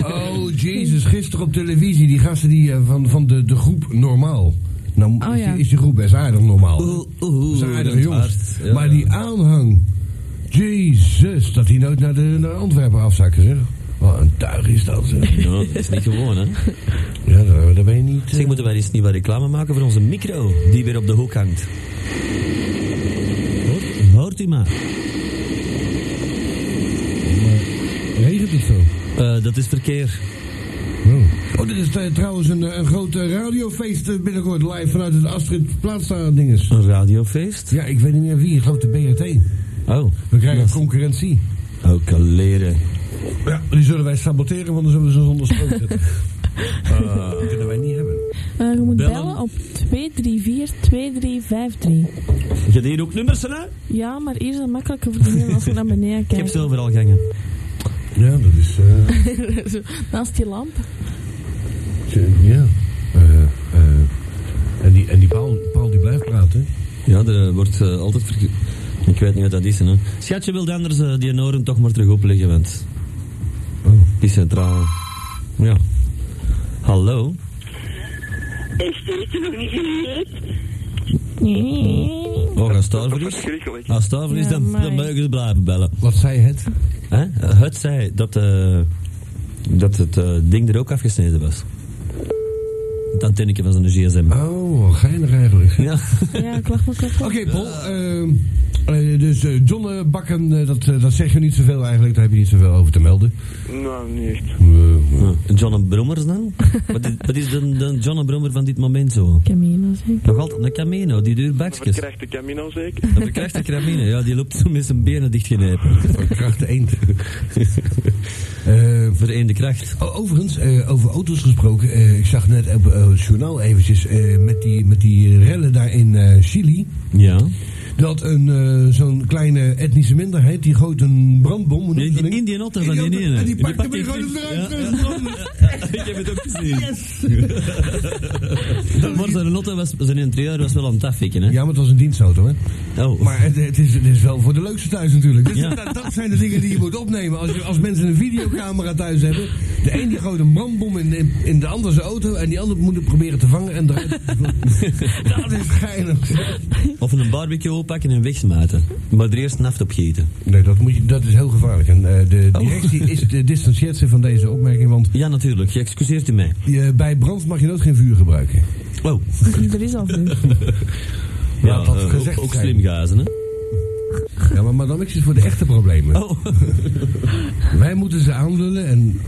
Oh, jezus, gisteren op televisie, die gasten die, eh, van, van de, de groep Normaal. Nou,
Oh,
is,
ja.
die, is die groep best aardig normaal. hè?
Oeh, oeh,
Dat zijn aardige
dat
jongens.
hard. Ja,
maar
ja.
die aanhang, jezus, dat die nooit naar, de, naar Antwerpen afzakken, zeg. Wat een tuig is dat, zeg.
Ja, dat is niet gewoon, <laughs> hè.
Ja, daar, daar ben je niet... eh,
Zeg, moeten wij eens niet wat reclame maken voor onze micro, die weer op de hoek hangt? Hoort, hoort u maar.
Regent het zo?
Eh, dat is verkeer.
Oh. oh, dit is eh, trouwens een, eh, een groot eh, radiofeest eh, binnenkort live vanuit het Astrid Plaza dinges.
Een radiofeest?
Ja, ik weet niet meer wie, ik geloof de BRT.
Oh,
We krijgen concurrentie.
ook al leren.
Ja, die zullen wij saboteren, want dan zullen we ze zonder stroom <laughs> zetten. Ah, dat kunnen wij niet hebben.
Eh, je moet
Bellen.
bellen op 234-2353.
Je hebt hier ook nummers, hè? Ik
Ja, maar hier is het makkelijker voor te zien als ik naar beneden
heb
kijk.
ze overal gangen.
Ja, dat is... eh,
Zo, Naast die lamp.
tje, ja. Eh, eh, en die, en die Paul, Paul die blijft praten.
Ja, er eh, wordt eh, altijd verkeer... Ik weet niet wat dat is, hè. Schatje wil de anders eh, die Noren toch maar terug opleggen, want... Oh, Die centrale... Ja. Hallo?
Is dit nog niet gereed?
Nee.
Oh, als het daarvoor is...
Verschrikkelijk.
Als het daarvoor is,
Ja,
dan, dan
amai.
mogen ze blijven bellen.
Wat zei het?
Hè? Het zei dat, eh, dat het eh, ding er ook afgesneden was. Het antennetje van zijn gsm.
Oh, wel geinig eigenlijk.
Ja.
Ja, klap maar, klap maar.
Oké, Paul. ehm, eh, dus eh, John eh, Bakken, eh, dat, eh, dat zeg je niet zoveel eigenlijk. Daar heb je niet zoveel over te melden.
Nou, niet echt.
Eh,
John Brommers dan? <laughs> wat, is, wat is de, de John Brommer van dit moment zo?
Camino, zeg.
Nog altijd een Camino, die duurt bakjes.
Verkrijgt de Camino zeker?
Dat krijgt de Camino, ja, die loopt zo met zijn benen dichtgenepen.
Van kracht eend. <laughs> Eh,
Vereende kracht.
o- overigens, eh, over auto's gesproken. eh, ik zag net op eh, het journaal eventjes eh, met, die, met die rellen daar in eh, Chili.
Ja.
Dat een eh, zo'n kleine etnische minderheid, die gooit een brandbom. hoe noemen
Nee,
ze
die
dat ding?
Indianotten van die
Idioten.
ene.
En die pakt hem en
pakt
gooit
die
hem eruit.
flink. <laughs> Ik heb het ook gezien. <laughs> maar zijn Lotte was, zijn interieur was wel aan het afwikken, hè?
Ja, maar het was een dienstauto, hè?
Oh.
Maar het, het is, het is wel voor de leukste thuis natuurlijk. Dus
Ja.
dat, dat zijn de dingen die je moet opnemen. Als, je, als mensen een videocamera thuis hebben. De een die gooit een brandbom in, in, in de ander zijn auto. En die ander moet het proberen te vangen. En eruit.
<laughs>
dat is geinig.
Of een barbecue oppakken en wegsmijten. Maar er eerst een naft opgeten.
Nee, dat, moet je, dat is heel gevaarlijk. En eh, de
Oh.
directie is, eh, distancieert zich van deze opmerking. Want
Ja, natuurlijk. Je excuseert u mij.
je- bij brand mag je nooit geen vuur gebruiken.
Oh.
Er is al veel.
Ja, dat
eh,
gezegd
ook, ook
zijn.
slim gazen, hè?
Ja, maar madame X is voor de echte problemen.
Oh.
<laughs> Wij moeten ze aanlullen en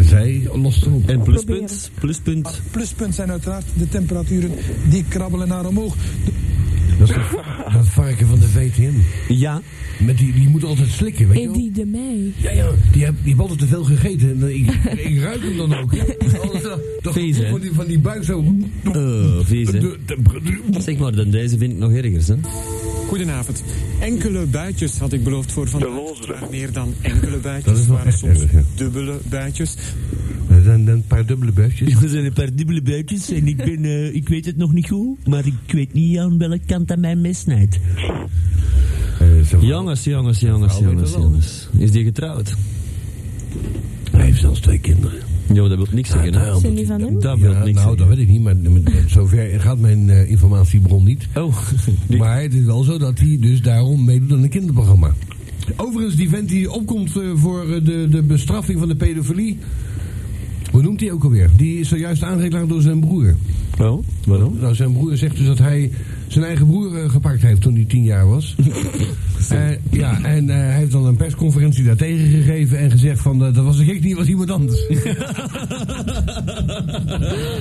zij lost hem op.
En pluspunt. Pluspunt.
Pluspunt zijn uiteraard de temperaturen die krabbelen naar omhoog.
Dat is dat- dat varken van de VTM.
Ja.
Met die, die moet altijd slikken, weet je wel?
Eddie Eh, de Meij.
Ja, ja, die heeft, die heeft altijd te veel gegeten. En, eh, Ik, ik ruik hem dan
<laughs>
ook. Alles, eh, Dat
Vies,
gevoel
hè?
van die, van die buik zo.
Oh, vies, hè?
De temperatuur.
Zeg maar, dan deze vind ik nog ergers, hè?
Goedenavond. Enkele buitjes had ik beloofd voor
De
vandaag.
loze.
Maar meer dan enkele
Dat is wel
buitjes waren
echt
soms
erg, ja.
dubbele buitjes.
Er zijn een paar dubbele buisjes.
Er zijn een paar dubbele buikjes en ik ben, eh, ik weet het nog niet goed, maar ik weet niet aan welke kant dat mijn mes snijdt.
Eh, zo-
Jongens, jongens, jongens,
vrouw weet
jongens,
dat wel.
jongens. Is die getrouwd?
Hij heeft zelfs twee kinderen.
Jo, dat wil niks zeggen, hè?
daarom
Zijn die van hem?
Dat wil
Ja,
niks
nou, dat
zeggen.
weet ik niet, maar maar zover gaat mijn eh, informatiebron niet.
Oh, die-
Maar het is wel zo dat hij dus daarom meedoet aan een kinderprogramma. Overigens, die vent die opkomt eh, voor eh, de, de bestraffing van de pedofilie. Hoe noemt hij ook alweer? Die is zojuist aangeklaagd door zijn broer.
oh, waarom?
Nou, zijn broer zegt dus dat hij zijn eigen broer eh, gepakt heeft toen hij tien jaar was. Eh, ja, en eh, hij heeft dan een persconferentie daartegen gegeven en gezegd van eh, dat was ik niet, was iemand anders.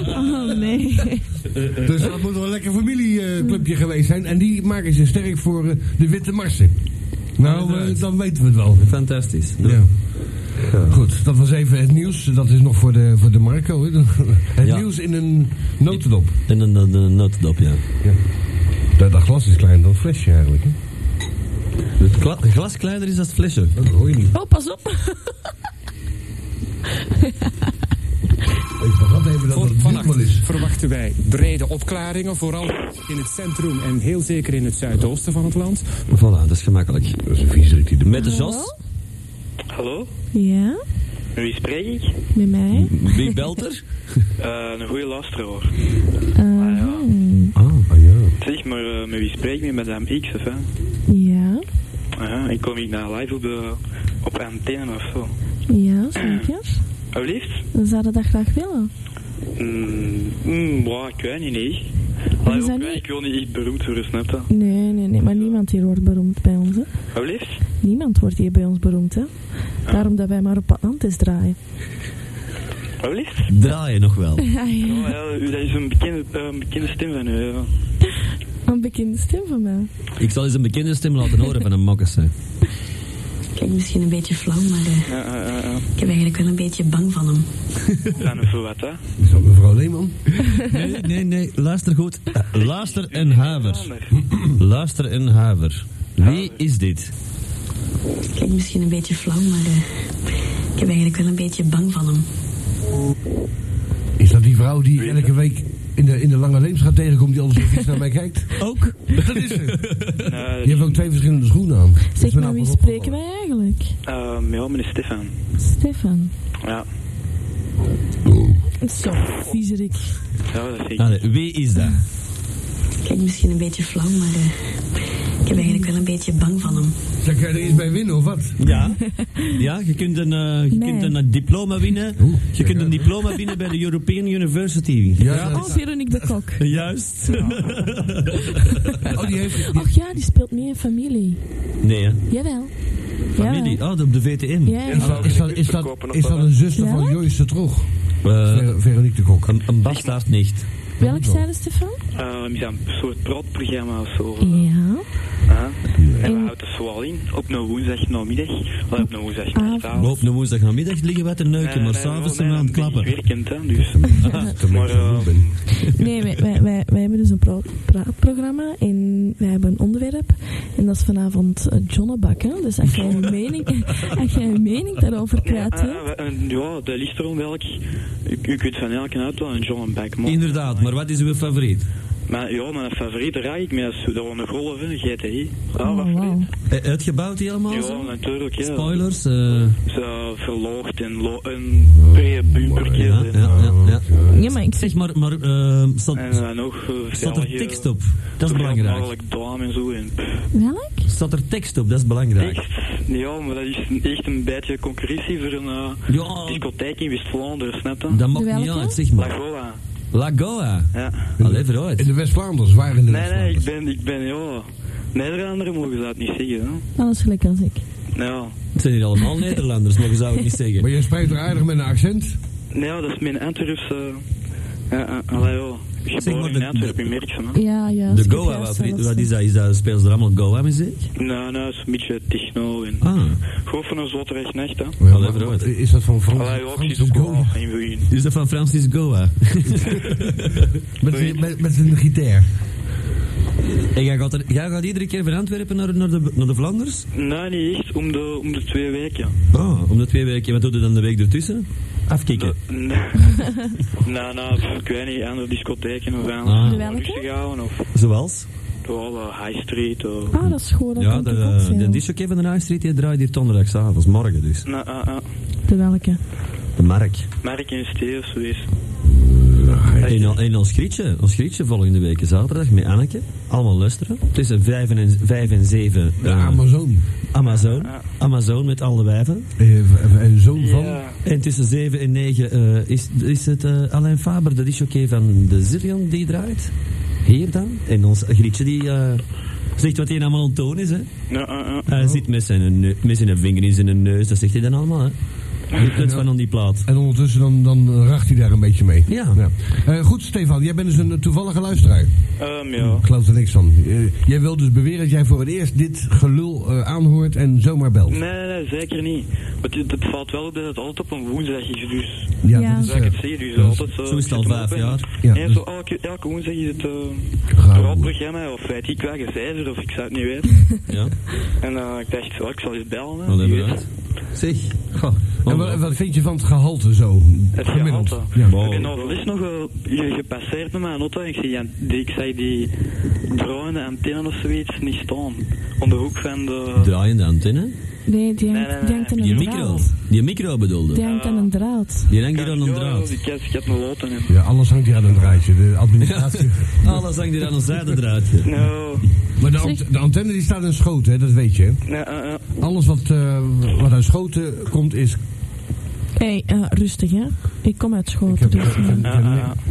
Oh nee.
dus dat moet wel een lekker familieclubje geweest zijn. En die maken zich sterk voor eh, de Witte Marsen. Nou, eh, dan weten we het wel.
Fantastisch.
Ja. Goed, dat was even het nieuws. Dat is nog voor de, voor de Marco. Hè. <laughs> Het
Ja.
nieuws in een notendop.
En een, een, een notendop, ja.
Ja. Dat, dat glas is kleiner dan het flesje eigenlijk. Hè?
Het kla- glas kleiner is dan het flesje.
Dat hoor je niet.
Oh, pas op.
Ik vergat even dat
Voor
het dit
vannacht
wel is.
verwachten wij brede opklaringen, vooral in het centrum en heel zeker in het zuidoosten van het land.
Voilà, dat is gemakkelijk.
Dat is een viezerik die de
Met de jas.
Hallo,
Ja,
wie spreek ik?
met mij.
Wie belt er?
Eh, een goede luisteraar.
Eh,
Ah,
ah ja.
Zeg, maar eh, met wie spreek ik? Met Madame X of hè?
Ja,
Aha, ik kom hier naar live op, de, op antenne of zo.
ja, snap je?
Alsjeblieft?
Zou je dat graag willen?
Mm, mm, boah, ik weet niet, nee.
Is
Allee,
dat
ook wij,
niet-
ik wil niet echt beroemd worden, snap je?
Nee, nee, nee, maar niemand hier wordt beroemd bij ons. Hè.
Alsjeblieft?
Niemand wordt hier bij ons beroemd, hè? Daarom dat wij maar op Atlantis draaien.
Alsjeblieft?
<laughs>
Draai je nog wel.
Ja, ja.
Oh, ja, u- dat is een bekende, eh, een bekende stem van u, ja.
Een bekende stem van mij.
Ik zal eens een bekende stem laten horen van een mokkers. hè.
Klinkt misschien een beetje flauw, maar eh,
Ja, ja, ja, ja.
ik ben eigenlijk wel een beetje bang van hem.
Van een voor wat, hè?
Is dat mevrouw Leeman?
Nee, nee, nee, luister goed. Eh, Luister en haver. <clears throat> Luister en haver. Wie is dit?
Klinkt misschien een beetje flauw, maar eh, ik ben eigenlijk wel een beetje bang van hem.
Is dat die vrouw die ik elke week in de, in de lange leems gaat tegenkomt die altijd zo vies naar mij kijkt?
<laughs>
Ook?
Dat is ze.
Nee,
Die heeft ook twee verschillende schoenen aan.
Zeg maar, wie spreken wij eigenlijk?
ehm, ja, meneer Stefan.
Stefan.
Ja,
Zo, viezerik.
ja dat zeg ik.
Allee, wie is dat?
Klinkt misschien een beetje flauw, maar eh, ik ben eigenlijk wel een beetje bang van hem.
Zeg, ga je er iets bij winnen of wat?
Ja, ja je kunt een, eh, je
Nee.
kunt een eh, diploma winnen. Je kunt een diploma winnen bij de European University.
Ja, dat
Oh,
is-
Veronique de Kok.
Juist.
Oh, die heeft...
Och ja, die speelt mee in familie.
Nee, hè.
Jawel.
Familie. Oh, op de VTM.
Ja, ja.
Is dat, is, dat, is, dat, is dat een zuster van
Ja?
Joyce de Troeg?
Eh,
Ver- Veronique de Kok.
een, een bastaard nicht.
Welk zijde, Stefan?
Ehm, is dat een soort praatprogramma of zo?
Ja.
Aha. En we
En-
houden het zoal in op een woensdag namiddag. Of op een woensdag
Ah.
Maar op een woensdagnamiddag liggen wij te neuken,
Eh,
maar s'avonds zijn we aan het klappen.
werkend, hè, dus. Maar,
Zo
eh,
ben ik.
Nee, wij, wij, wij, wij hebben dus een pro- praatprogramma en wij hebben een onderwerp. En dat is vanavond eh, jonnebakken. Dus
<laughs>
als jij een mening, als jij een mening daarover kwijt
ah,
hebt...
we- en ja, dat ligt erom welk. U, u kunt van elke auto een John Backman.
Inderdaad, maar wat is uw favoriet?
Maar ja, mijn favoriete rijd ik met dat was een golf, een GTI. Ah, wat
Oh, wauw.
Eh, Uitgebouwd die allemaal?
Ja,
zo?
natuurlijk, ja.
Spoilers? eh,
Ze verloogd en lo- een brede bumpertje.
ja,
en,
ja, ja, ja.
Ja, maar ik
Zeg maar, maar eh, staat,
en eh, nog eh,
staat er
velgen,
tekst op? Dat is belangrijk.
Mogelijk dame en zo. En,
Welk?
Staat er tekst op? Dat is belangrijk.
echt, ja, maar dat is een- echt een beetje concurrentie voor een eh,
Ja,
discotheek in West-Vlaanderen, snap je?
ah, dat maakt niet
Welke?
uit, zeg maar.
Lagoa,
Lagoa.
ja.
Allee, vooruit.
In de West-Vlaanders, waar in de
Nee, nee, ik
West-Vlaanders?
ben, ik ben, ja... Nederlander mogen ze dat niet zeggen, hè.
Alles gelijk als ik.
Nou,
Het zijn hier
<laughs>
allemaal Nederlanders, maar je zou het niet zeggen.
Maar jij spreekt er aardig met een accent.
nou, dat is mijn Antwerpse... Ja, uh, allee, ja.
Zeg maar
Geboren
de-
in Antwerpen, je merkt ze, hè.
Ja, ja.
De Goa, wat, wat is dat? Is dat spelen ze er allemaal Goa-muziek?
Nou, nou, het is een beetje techno en...
Ah,
Gewoon van een zotterig nacht, hè.
Ja,
Allee, vooruit.
is dat van Frans?
Allee, ja,
Frans
precies.
de Gaulle?
Ja, in begin.
is dat van Francis Goa?
Met, die- met, met zijn gitaar.
En jij gaat, er, jij gaat iedere keer van Antwerpen naar, naar, de, naar de Vlaanders?
Nee, niet echt. Om de, om de twee weken.
Ah, om de twee weken. Wat doe je dan de week ertussen? Afkikken.
<laughs>
Eh, Nee, nee, nee, pff, ik weet niet. Andere discotheken of aan.
Ah.
Welke?
Rustig houden of...
Eh, Zoals?
Ja, wel, High Street of...
Ah, dat is gewoon. Dat
Ja,
kan
de, eh,
toch ook
de
zijn.
disjockey van de High Street die draait hier donderdagavond, morgen dus.
Nee, ah, ah.
De welke?
De Mark.
Mark en Steve, zoiets.
En, al- en ons grietje, ons grietje volgende week zaterdag met Anneke. Allemaal luisteren. Tussen 5 en 5 en 7.
De Amazon.
Amazon. Amazon met alle wijven.
Eh, En zoon van...
Ja.
En tussen 7 en 9 eh, is, is het eh, Alain Faber, de disjockey van de Zillion, die draait. Hier dan. En ons grietje die eh, zegt wat hij nou allemaal ontoon is. Hè.
Nee, ah, ah.
Hij zit met zijn, neu- met zijn vinger in zijn neus, dat zegt hij dan allemaal. Hè. De kluts van aan die plaat.
En ondertussen dan, dan racht hij daar een beetje mee.
Ja.
Eh, goed, Stefan, jij bent dus een eh, toevallige luisteraar.
Ehm, ja.
Ik geloof er niks van. Eh, jij wil dus beweren dat jij voor het eerst dit gelul eh, aanhoort en zomaar belt.
Nee, nee, nee, zeker niet. Want het, het valt wel op dat het altijd op een woensdag is, dus...
Ja, Ja. dat is,
Zoals ik
eh,
het zie, dus
dat is-
altijd...
zo is het al vijf jaar. Ja,
Ja, en
dus-
zo elke, elke woensdag is het... eh een groot programma, of weet ik wat, gezever, of ik zou het niet weten.
Ja.
En eh, ik dacht, zo, ik zal eens bellen. hè,
Wat
wie
hebben we
weet.
dat? Zeg. Goh.
En wat, wat vind je van het gehalte zo?
Het
Gemiddeld.
gehalte.
Ja.
Ik ben overlis nog eh, hier gepasseerd met mijn auto en ik zie die, die, ik zag die draaiende antenne of zoiets niet staan. Om de hoek van de...
Draaiende antenne?
Nee, die hangt, die hangt aan
Die
een
micro.
draad.
Die micro bedoelde.
Die hangt aan een draad.
Die hangt hier aan een
Ja,
draad.
die kast, ik heb mijn loten in.
Ja, alles hangt hier aan een draadje. De administratie.
Alles hangt hier aan een zijdedraadje.
<laughs>
Nou,
Maar de, ant- de antenne die staat in schoten, hè, dat weet je. hè?
nee, eh, eh,
Alles wat, eh, wat uit schoten komt is...
Hé, hey, eh, rustig hè. Ik kom uit Schoten. Dus, eh,
ik heb-
ah,
ah.
Eh,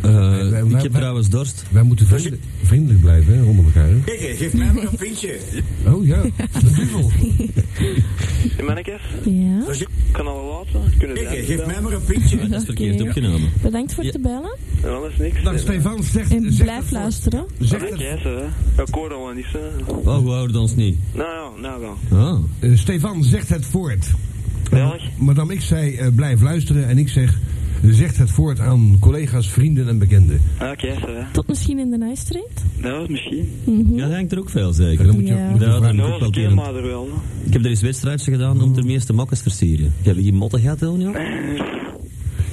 wij- wij-
Eh, ik
wij-
heb trouwens dorst.
Wij moeten vriendelijk, vriendelijk blijven hè, onder elkaar. hè?
Kijk, geef mij maar een pintje.
Oh
<laughs>
ja, de duvel.
die mannetjes,
Ja.
kan alle laten. Kunnen
Kijk,
ze
geef mij maar een pintje.
Dat is verkeerd opgenomen.
Bedankt voor te bellen.
En alles niks.
Dag Stefan, zeg,
En
zeg
blijf
dat voor-
luisteren.
Zeg
Zeg
dat-
jij ze, hè? Ik hoor al niet, hè.
Oh, we houden ons niet.
Mhm.
Nou ja, nou dan.
Oh.
eh, Stefan, zegt het voort. Eh,
Belg.
Madame, ik zei eh, blijf luisteren en ik zeg... Zegt het voort aan collega's, vrienden en bekenden.
Ah, Oké, ze, hè.
Tot misschien in de Night Street.
Nou, misschien.
Mhm.
Ja, dat hangt er ook veel zeker.
Dan moet je,
Ja.
moet je
Ja,
vragen.
dat-
Nou,
wel
ze keer
terend.
maar er wel. hè.
Ik heb er eens wedstrijdjes gedaan om de
Mm.
meeste mokkers te versieren. Heb je die motten gehad, Elnio?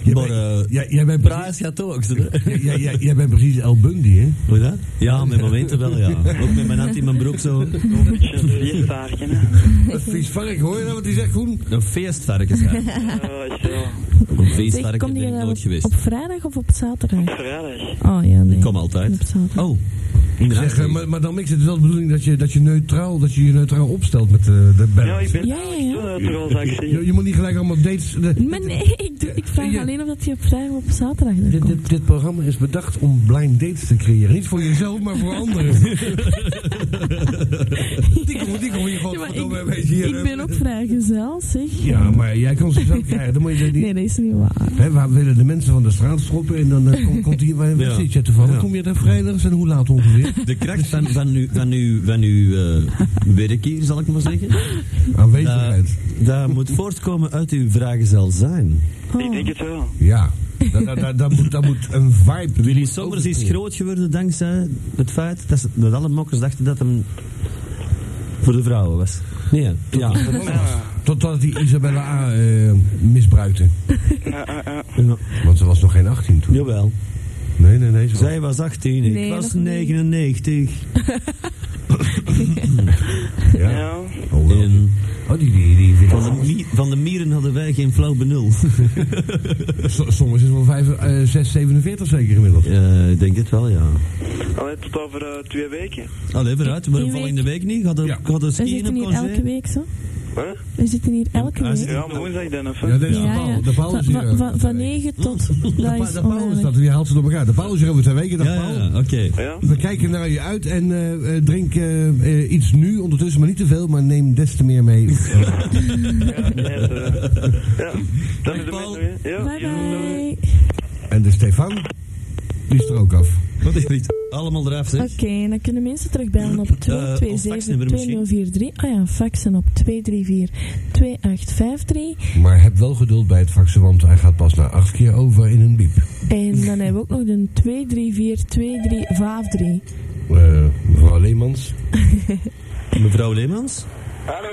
Jij
Maar,
bent-
eh,
jij- jij bent precies-
Praat gaat ook, ze, hè?
jij- jij- jij- jij bent precies El Bundy,
<laughs>
hè?
Hoe dat? Ja, met momenten wel,
<laughs>
ja. Ook met mijn hand in mijn broek zo.
Een <laughs> beetje een vierstaartje, hè.
Een vies vark, hoor je dat wat hij zegt, Groen?
Een feestvarken zijn.
Ja, is wel.
Een
Zeg,
feestvarken
kom
ben
die
ik
wel
nooit
op,
geweest.
op vrijdag of op zaterdag?
Vrijdag.
Oh ja, nee.
Ik kom altijd.
Op zaterdag.
Oh, in de
Zeg, eh,
nacht.
maar, maar dan is het wel de bedoeling dat je, dat je, neutraal, dat je je neutraal opstelt met eh, de,
Nou,
de band.
Ja, Nou, ik ben
Ja, ja, ja.
ja, terwijl dat ik zie.
Je, je moet niet gelijk allemaal dates... eh, de-
Maar nee, ik, doe, ik vraag
Ja.
alleen of dat hij op vrijdag of op zaterdag er
dit,
komt.
dit, dit programma is bedacht om blind dates te creëren. Niet voor jezelf, maar voor <laughs> anderen. die komen die komen hier gewoon
Ja, maar
verdomme een
ik,
beetje hier.
ik
eh,
ben ook vrijgezel, zeg.
Ja, maar jij kan ze zo krijgen. Dan moet je die,
Nee, dat is niet waar.
Hè, waar willen de mensen van de straat schoppen en dan
<laughs>
eh, komt- komt hier... Waar
Ja.
zit je toevallig?
Ja.
Kom je daar vrijdags en hoe laat
<laughs>
ongeveer?
De kracht van, van uw, van uw, van uw eh, werk hier, zal ik maar
<laughs>
zeggen.
Aanwezigheid.
Dat, dat moet voortkomen uit uw vragen zal zijn.
Ik denk het wel.
Ja, dat, dat, dat, dat moet, dat moet een vibe.
Willy Sommers is groot geworden dankzij het feit dat, ze- dat alle mokkers dachten dat hem voor de vrouwen was. Nee, hè? ja.
<laughs> Totdat hij Isabella A. eh, misbruikte.
eh,
Ja.
Want ze was nog geen 18 toen.
Jawel.
Nee, nee, nee. Ze was...
Zij was 18, ik
Nee,
was
nog niet.
99.
Ja.
Ja.
Oh, wel.
En
oh, die, die, die, die-
van, de mi- van de mieren hadden wij geen flauw benul. <laughs>
S- Soms is wel 5, eh 6, 47 zeker gemiddeld.
Eh, Ik denk het wel, ja.
Allee, tot over eh, twee weken.
Allee, vooruit, maar
Die
volgende week niet. Gaat er,
Ja.
gaat er
We
skiën
zitten
op
hier elke
concert?
week, zo.
Huh?
We zitten hier elke
hij
week.
zit-
Ja, maar woensdag dan, of?
Ja, dat is
Ja,
de paal.
ja.
De paal
Van-
is hier.
van-
over
van-
twee
Van
weken.
9 tot...
Pa-
Dat is
De paal is dat,
onmogelijk.
je haalt het op elkaar. De paal is hier over twee weken, de
Ja, ja,
paal.
ja, oké.
Ja.
We kijken naar je uit en eh, eh, drink eh, eh, iets nu ondertussen, maar niet te veel, maar neem des te meer mee.
Ja, net, eh, ja. Dan is de
Paul.
mensen weer. Ja,
Bye
ja, dan-
bye.
en de Stefan, die is er ook af.
Wat is dit? Allemaal eraf, zeg.
Oké, dan kunnen mensen terugbellen op 227 2043. Ah ja, faxen op 234 2853.
Maar heb wel geduld bij het vaccin, want hij gaat pas na acht keer over in een biep.
En dan hebben we ook nog de 234 2353.
Eh, mevrouw Leemans.
Mevrouw Leemans?
Hallo.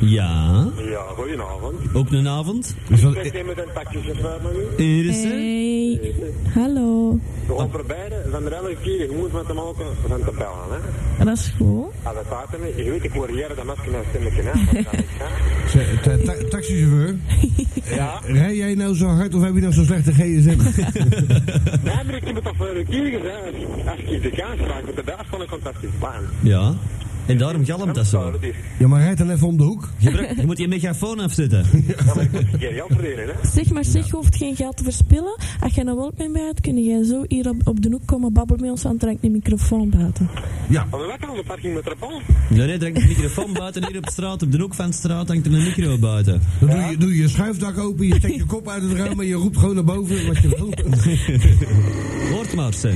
Ja.
Ja, goedenavond.
Ook een avond?
Is dat-
Ik ben met een taxichauffeur van u.
Hier is ze.
Hey, hallo.
Over beide, van de elke keer, je moet met hem ook van te bellen, hè. Ah,
Dat is goed.
Als het water mee, je weet, ik hoor hier dat masker en stemmetje, <laughs> hè. Wat kan ik, hè?
Zeg, ta- ta- taxichauffeur,
Ja.
rij jij nou zo hard of heb je nou zo'n slechte gsm?
Nee, maar ik heb het al voor een keer gezegd. Als ik de kans raak, met de bel van een fantastisch baan.
Ja. En daarom galmt Oh, dat zo.
Ja, maar rijd dan even om de hoek.
Je, brak- je moet je megafoon afzetten.
Zeg maar, zeg, je hoeft geen geld te verspillen. Als je nou wel mee bent, kun jij zo hier op, op de hoek komen babbelen met ons, aan trek de microfoon buiten.
Ja.
Maar wat kan de parking met Rapal?
Ja, nee, trek de microfoon buiten hier op straat. Op de hoek van de straat hangt er een micro buiten.
Dan doe je, doe je schuifdak open, je steekt je kop uit het raam en je roept gewoon naar boven wat je wil.
Hoort maar, zeg.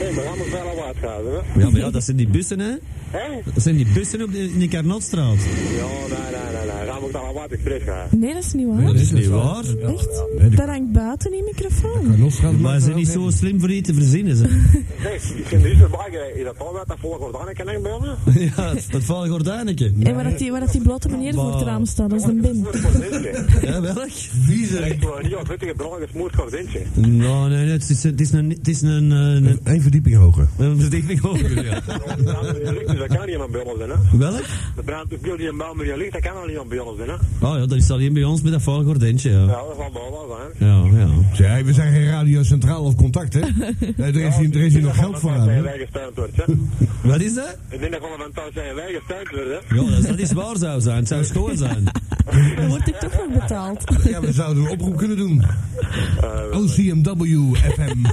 Nee, maar gaan we wel aan waard gaan, hè?
Ja, maar ja, dat zijn die bussen, hè?
Hè?
Dat zijn die bussen op de, in de Carnotstraat.
Ja, nee, nee, nee, nee. Gaan we ook naar waard expres gaan?
Nee, dat is niet waar.
dat is niet waar.
Echt? Daar hangt buiten die microfoon.
Maar ze zijn niet zo slim voor je te verzinnen, ze.
Nee, ik vind de huizen wagen. Is dat al wat dat volgt wordt aan? Ik kan echt bellen.
<laughs> Ja, het- dat valt gordijnetje.
En waar, dat die, waar dat die blote meneer voor het raam staat, dat is een bim.
Ja, welk?
Ik wil niet als wettige brand een smoord gordijntje.
Nou, nee, nee, het is, het is een... Het is een, eh, een,
Eén verdieping hoger.
een verdieping hoger, ja.
Dus dat kan niet aan bellen zijn, hè?
<laughs> Welk?
De brandtoestel die een bouw met je ligt, dat kan al niet aan bellen zijn, hè?
Oh ja, dat is alleen bij ons met dat vaal gordijntje, ja.
Ja, dat zal wel wel zijn.
Ja, ja.
Zeg, hey, we zijn geen radio centraal of contact, hè? Nee, er is hier, er is hier nog geld voor aan,
zijn
hè?
wij gestuurd wordt, hè?
Wat is dat?
In ieder geval van thuis zijn wij gestuurd wordt, hè?
Ja, dat, dat is waar zou zijn. Het zou schoon zijn.
Daar word ik toch voor betaald.
Ja, we zouden een oproep kunnen doen. OCMW FM.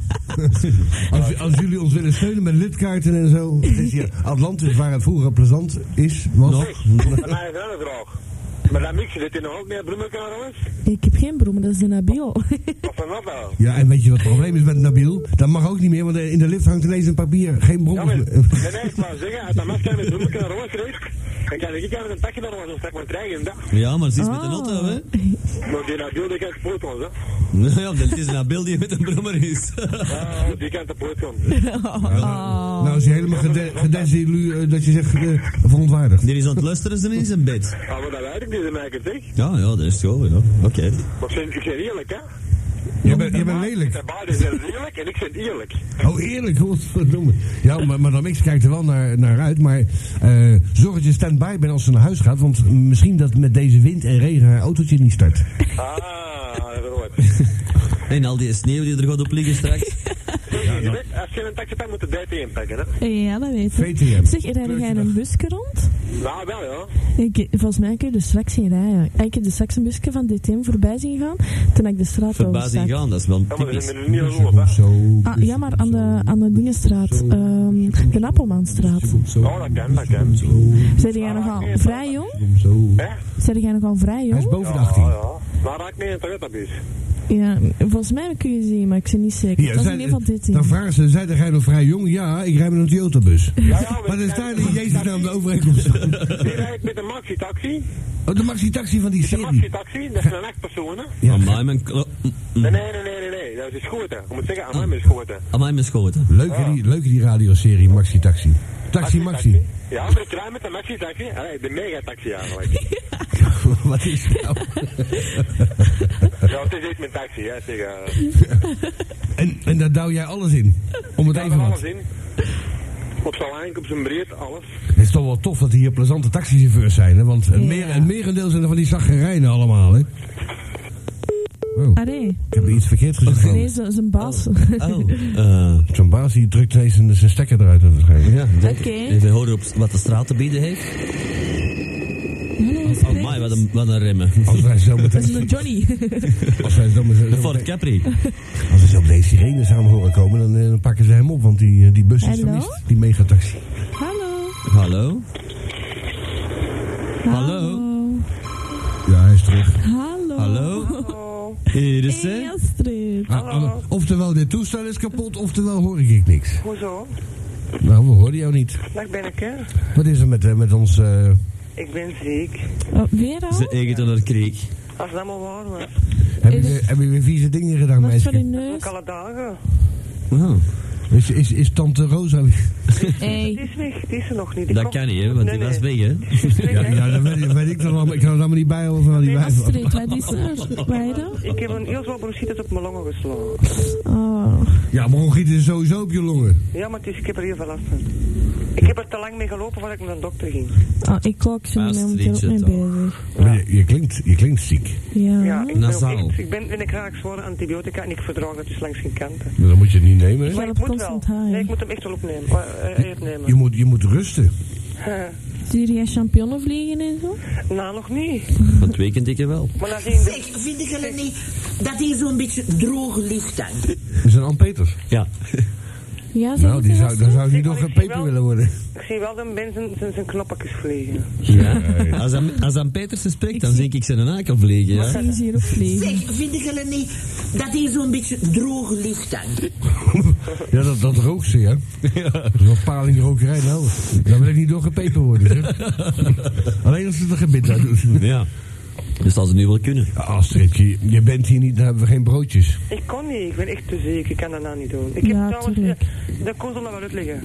als, als jullie ons willen steunen met lidkaarten en zo. Het is hier Atlantis, waar het vroeger plezant is. Was.
Van mij is wel een vraag. Maar dat mixen zit hier nog ook meer bloemenkarrels?
Ik heb geen broer, maar dat is de Nabil.
Of van wat nou?
Ja, en weet je wat het probleem is met Nabil? Dat mag ook niet meer, want in de lift hangt ineens een papier. Geen
Ja,
<laughs> brommers
maar,
meer.
nee, nee, ik wou zeggen, als dat masker met bloemenkarrels kreeg, dan kan ik even een takje naar ons straks maar krijgen, dat.
Ja, maar het is met een auto, hè?
Maar die Nabil, die kan te poot
<laughs>
komen, hè?
Nou ja, dat is een beeld die met een brommer is.
Ja, die kan te poot komen.
Nou is hij helemaal gede- gedesillu... eh, dat je zegt, eh, verontwaardigd.
<laughs> Die is aan het luisteren, ze in zijn bed.
Ah, maar dat weet ik niet, dat merk ik, zeg.
Ja, ja, dat is schoon, ja. Oké.
Maar ik vind- ik zeg eerlijk, hè?
Je bent, je bent lelijk.
De baden zijn eerlijk en ik vind eerlijk.
Oh, eerlijk, godverdomme. Ja, maar Madame X kijkt er wel naar, naar uit. Maar eh, zorg dat je stand-by bent als ze naar huis gaat. Want misschien dat met deze wind en regen haar autootje niet start.
Ah, dat wordt.
En al die sneeuw die er gaat op liggen straks. <laughs>
Je weet, Als je een taxi pakt, moet de DT inpakken, hè?
Ja, dat weet ik.
VTM.
Zeg, rijden jij in een busje rond?
Nou, wel, ja.
Ik, volgens mij kun je er straks in rijden. Ik heb de straks een busje van DTM voorbij zien gaan, toen ik de straat
Verbazing
overstak.
gaan, dat is wel
Ja, maar we
typisch.
zijn er niet aan op, hè?
Zo.
Ah, ja, maar aan de, aan de Dingenstraat, ehm, de Appelmanstraat.
Oh, dat kan, dat kan.
Zijn jij nogal vrij jong?
Zo.
Hè?
Zijn jij nogal vrij
Hij is
jong?
boven de
Ja,
18.
ja. Maar raak niet in
<laughs>
het toiletabus.
Ja, volgens mij kun je zien, maar ik ben niet zeker.
Hier,
Dat is
zij-
in ieder geval
Dan
DTM.
vragen ze, zij jij nog vrij jong? Ja, ik rij met een Toyota-bus.
Ja, ja,
Maar dan
we-
staan in Jezus naam de overeenkomst.
Die rijdt met een maxi-taxi.
Oh, de maxi-taxi van die
De
serie.
maxi-taxi, dat is een achtpersoon, hè?
Ja, Amai, mijn, klo-
Nee,
Mhm.
nee, nee, nee, nee, nee. Dat is schoten. Je moet zeggen, aan mij is schoten.
amai, mijn schoten.
Leuke die, leuke die radioserie, maxi-taxi. Taxi-maxi.
Ja, maar ik rij met een maxi-taxi. Allee, de megataxi eigenlijk.
<laughs> Wat is dat nou?
ja, het is iets met taxi, hè, zeg. eh.
En, en daar douw jij alles in. Om het
Ja,
even
van
wat.
alles in. Op zijn lijn, op zijn breed, alles.
Het is toch wel tof dat hier plezante taxichauffeurs zijn, hè? Want het, meer, het merendeel zijn er van die zaggerijnen allemaal, hè? Oh,
Arré,
ik heb iets verkeerd gezegd. geloof
nee,
ik.
ze- zijn baas.
Oh, eh,
Zo'n baas die drukt ineens zijn, zijn stekker eruit waarschijnlijk.
ja. denk ik.
<laughs> Oké.
Even horen op wat de straat te bieden heeft. Oh, Amai, wat een, wat een remmen.
<laughs>
Als wij zo
Dat is
meteen...
de Johnny.
Als wij zo meteen...
De Ford Capri.
Als we zo op deze sirenes aan horen komen, dan, eh, dan pakken ze hem op. Want die, eh, die bus is
Hallo?
vermist. Die megataxi.
Hallo.
Hallo? Hallo?
Ja, hij is terug. Ah,
Hallo.
Hallo? Hier is
Hey,
ze.
Astrid.
Ah, ah, oftewel, dit toestel is kapot, oftewel hoor ik ik niks.
Hoezo?
Nou, we hoorden jou niet.
Dag ben ik, hè?
Wat is er met, eh, met ons... eh,
Ik ben ziek.
Oh, weer al?
Ze eet aan haar kreek.
Als dat maar waar was.
heb, je, weer- heb je weer vieze dingen gedaan,
Wat voor
meisje?
een neus?
Alle dagen.
Oh,
Is, is, is tante Rosa... weer-
Het
Hey.
is weg, het is er nog niet. Ik
dat
kom-
kan niet, hè, want
Nee,
die
nee.
was weg,
<laughs>
hè.
Ja, ja dat weet, ik- weet ik dan allemaal. Ik kan het allemaal niet bijhouden van al die wijven.
Astrid, wat is er? Waarom?
Ik heb een heel zwaar bronchitis op mijn longen geslagen.
Oh.
Ja, bronchitis is sowieso op je longen.
Ja, maar het is, ik heb er heel veel last van. Ik heb er te lang mee gelopen voordat ik naar de dokter ging.
Ah, ik ook, ze
Maar
ben momenteel ook
Astridje
mee
toch.
bezig.
Maar je, je klinkt, je klinkt ziek.
Ja.
Ja, ik ben, ook
Nasaal.
echt- ik ben in een graag zware antibiotica en ik verdraag het dus langs geen kanten.
Maar Dan moet je het niet nemen, hè?
Maar ik moet wel. Nee, ik moet hem echt wel opnemen. Eh, eh, opnemen.
Je moet, je moet rusten.
Stuur jij champignonnen vliegen en zo?
Nou, nog niet.
Van het weekend ik wel.
Zeg, vinden jullie niet dat hier zo'n beetje droog lucht hangt?
Is een Ann Peters?
Ja.
Ja,
nou, die zou, dan zou die nog een peper willen worden.
Ik zie wel dat mensen zijn, zijn knoppakjes vliegen.
Ja. Als, aan, als aan Petersen spreekt, dan denk ik zijn een aan kan vliegen. Ja.
hier op vliegen.
Zeg, vinden jullie niet dat hier zo'n beetje droog lucht hangt?
Ja, dat, dat rookt ze, hè? Dat is Wat palingrokerij nou. Dan wil ik niet door gepeper worden, zeg. Alleen als ze er gebit aan doen.
Ja. Dus als ze nu wel kunnen.
Astrid, je, je bent hier niet, dan hebben we geen broodjes.
Ik kon niet, ik ben echt te ziek, ik kan dat nou niet doen. Ik
Ja,
heb trouwens, eh, dat kon ze nog wel uitleggen.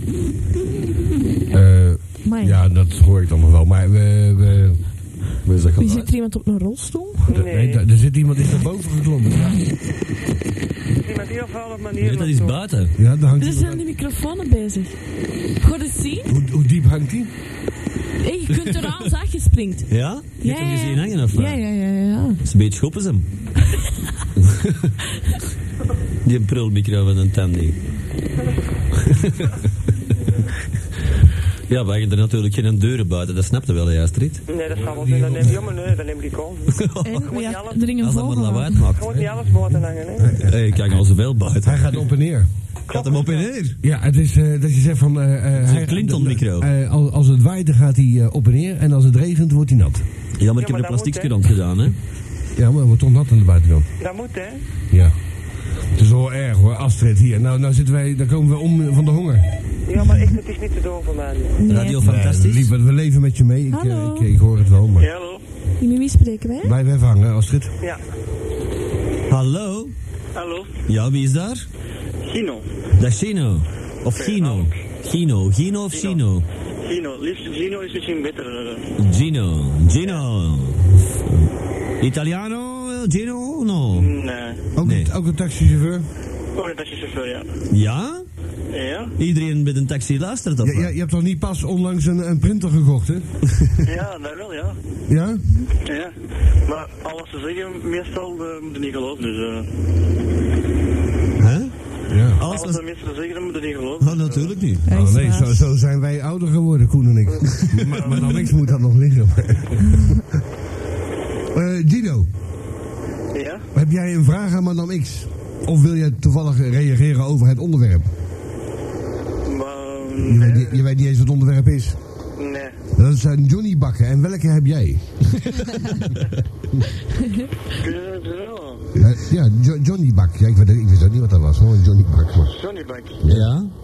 Eh, ja, dat hoor ik dan nog wel. Maar we... we
Wie zit er iemand op een rolstoel?
Nee. daar- er zit iemand die naar boven geklommen. Ja,
Iemand die op alle
Nee,
manieren.
dat is buiten.
ja daar hangt
Er
iemand
zijn
aan.
de microfoons bezig. Goed het zien?
Hoe, hoe diep hangt die?
Hé, je kunt eraan als je springt.
Ja? Je hebt hem gezien hangen of wat?
ja, ja, ja, ja.
Dat is een beetje schoppen ze hem. <laughs> Die prulmicro van een tanding. <laughs> ja, we hadden er natuurlijk geen deuren buiten, dat snapte wel, ja, Astrid.
Nee, dat zal wel zijn, dat neem je om, nee, dat neem ik om.
En
we
Als dat maar lawaai maakt.
Je moet niet alles buiten hangen, hè.
Hé, ik kijk al zoveel buiten.
Hij gaat op en neer.
Gaat hem op en neer.
Ja, het is eh, dat je zegt van... eh, eh,
is een
hij-
Clinton-micro.
eh, als, als het waait, dan gaat hij eh, op en neer. En als het regent, wordt hij nat.
Ja, maar ik heb een plastic rond gedaan, hè.
Ja, maar hij wordt toch nat aan de buitenkant.
Dat moet, hè.
Ja. Het is wel erg hoor, Astrid hier. Nou, nou zitten wij, daar komen we om eh, van de honger.
Ja, maar echt, het is niet te doen voor mij.
Radio Oh, Fantastisch.
lief, we leven met je mee. Ik, eh,
Hallo.
ik, ik hoor het wel, maar
hallo.
Met wie spreken wij?
blijf even hangen, Astrid.
Ja.
Hallo?
Hallo.
Ja, wie is daar?
Gino.
Dat is Gino. Of Gino. Gino. Gino of Gino?
Gino. Liefst Gino is misschien beter. eh.
Gino. Gino. Italiano? eh, Gino? No.
mm, Nee.
Ook,
Nee.
Een, ook een taxichauffeur?
Oh, dat is chauffeur, ja.
Ja?
Ja?
Iedereen met een taxi luistert of
Ja, ja,
wat?
je hebt toch niet pas onlangs een, een printer gekocht, hè?
Ja, dat wel, ja.
Ja?
Ja. Maar alles te zeggen, meestal eh, moeten niet geloven, dus... eh,
Hè?
Ja.
alles wat de mensen zeggen, moeten niet geloven.
Oh, natuurlijk niet.
Oh, nee, zo, zo zijn wij ouder geworden, Koen en
<laughs>
ik. maar, maar dan niks moet dat nog liggen. Eh Gino,
Ja?
heb jij een vraag aan Madame X? Of wil jij toevallig reageren over het onderwerp?
Maar...
Je weet, niet- je weet niet eens wat het onderwerp is.
Nee.
Dat zijn Johnny bakken. En welke heb jij?
Kun je dat wel?
Eh, ja, jo Johnny Bak. Ja, ik, weet, ik wist ook niet wat dat was hoor, een Johnny Bak. Maar.
Johnny Bank.
Ja?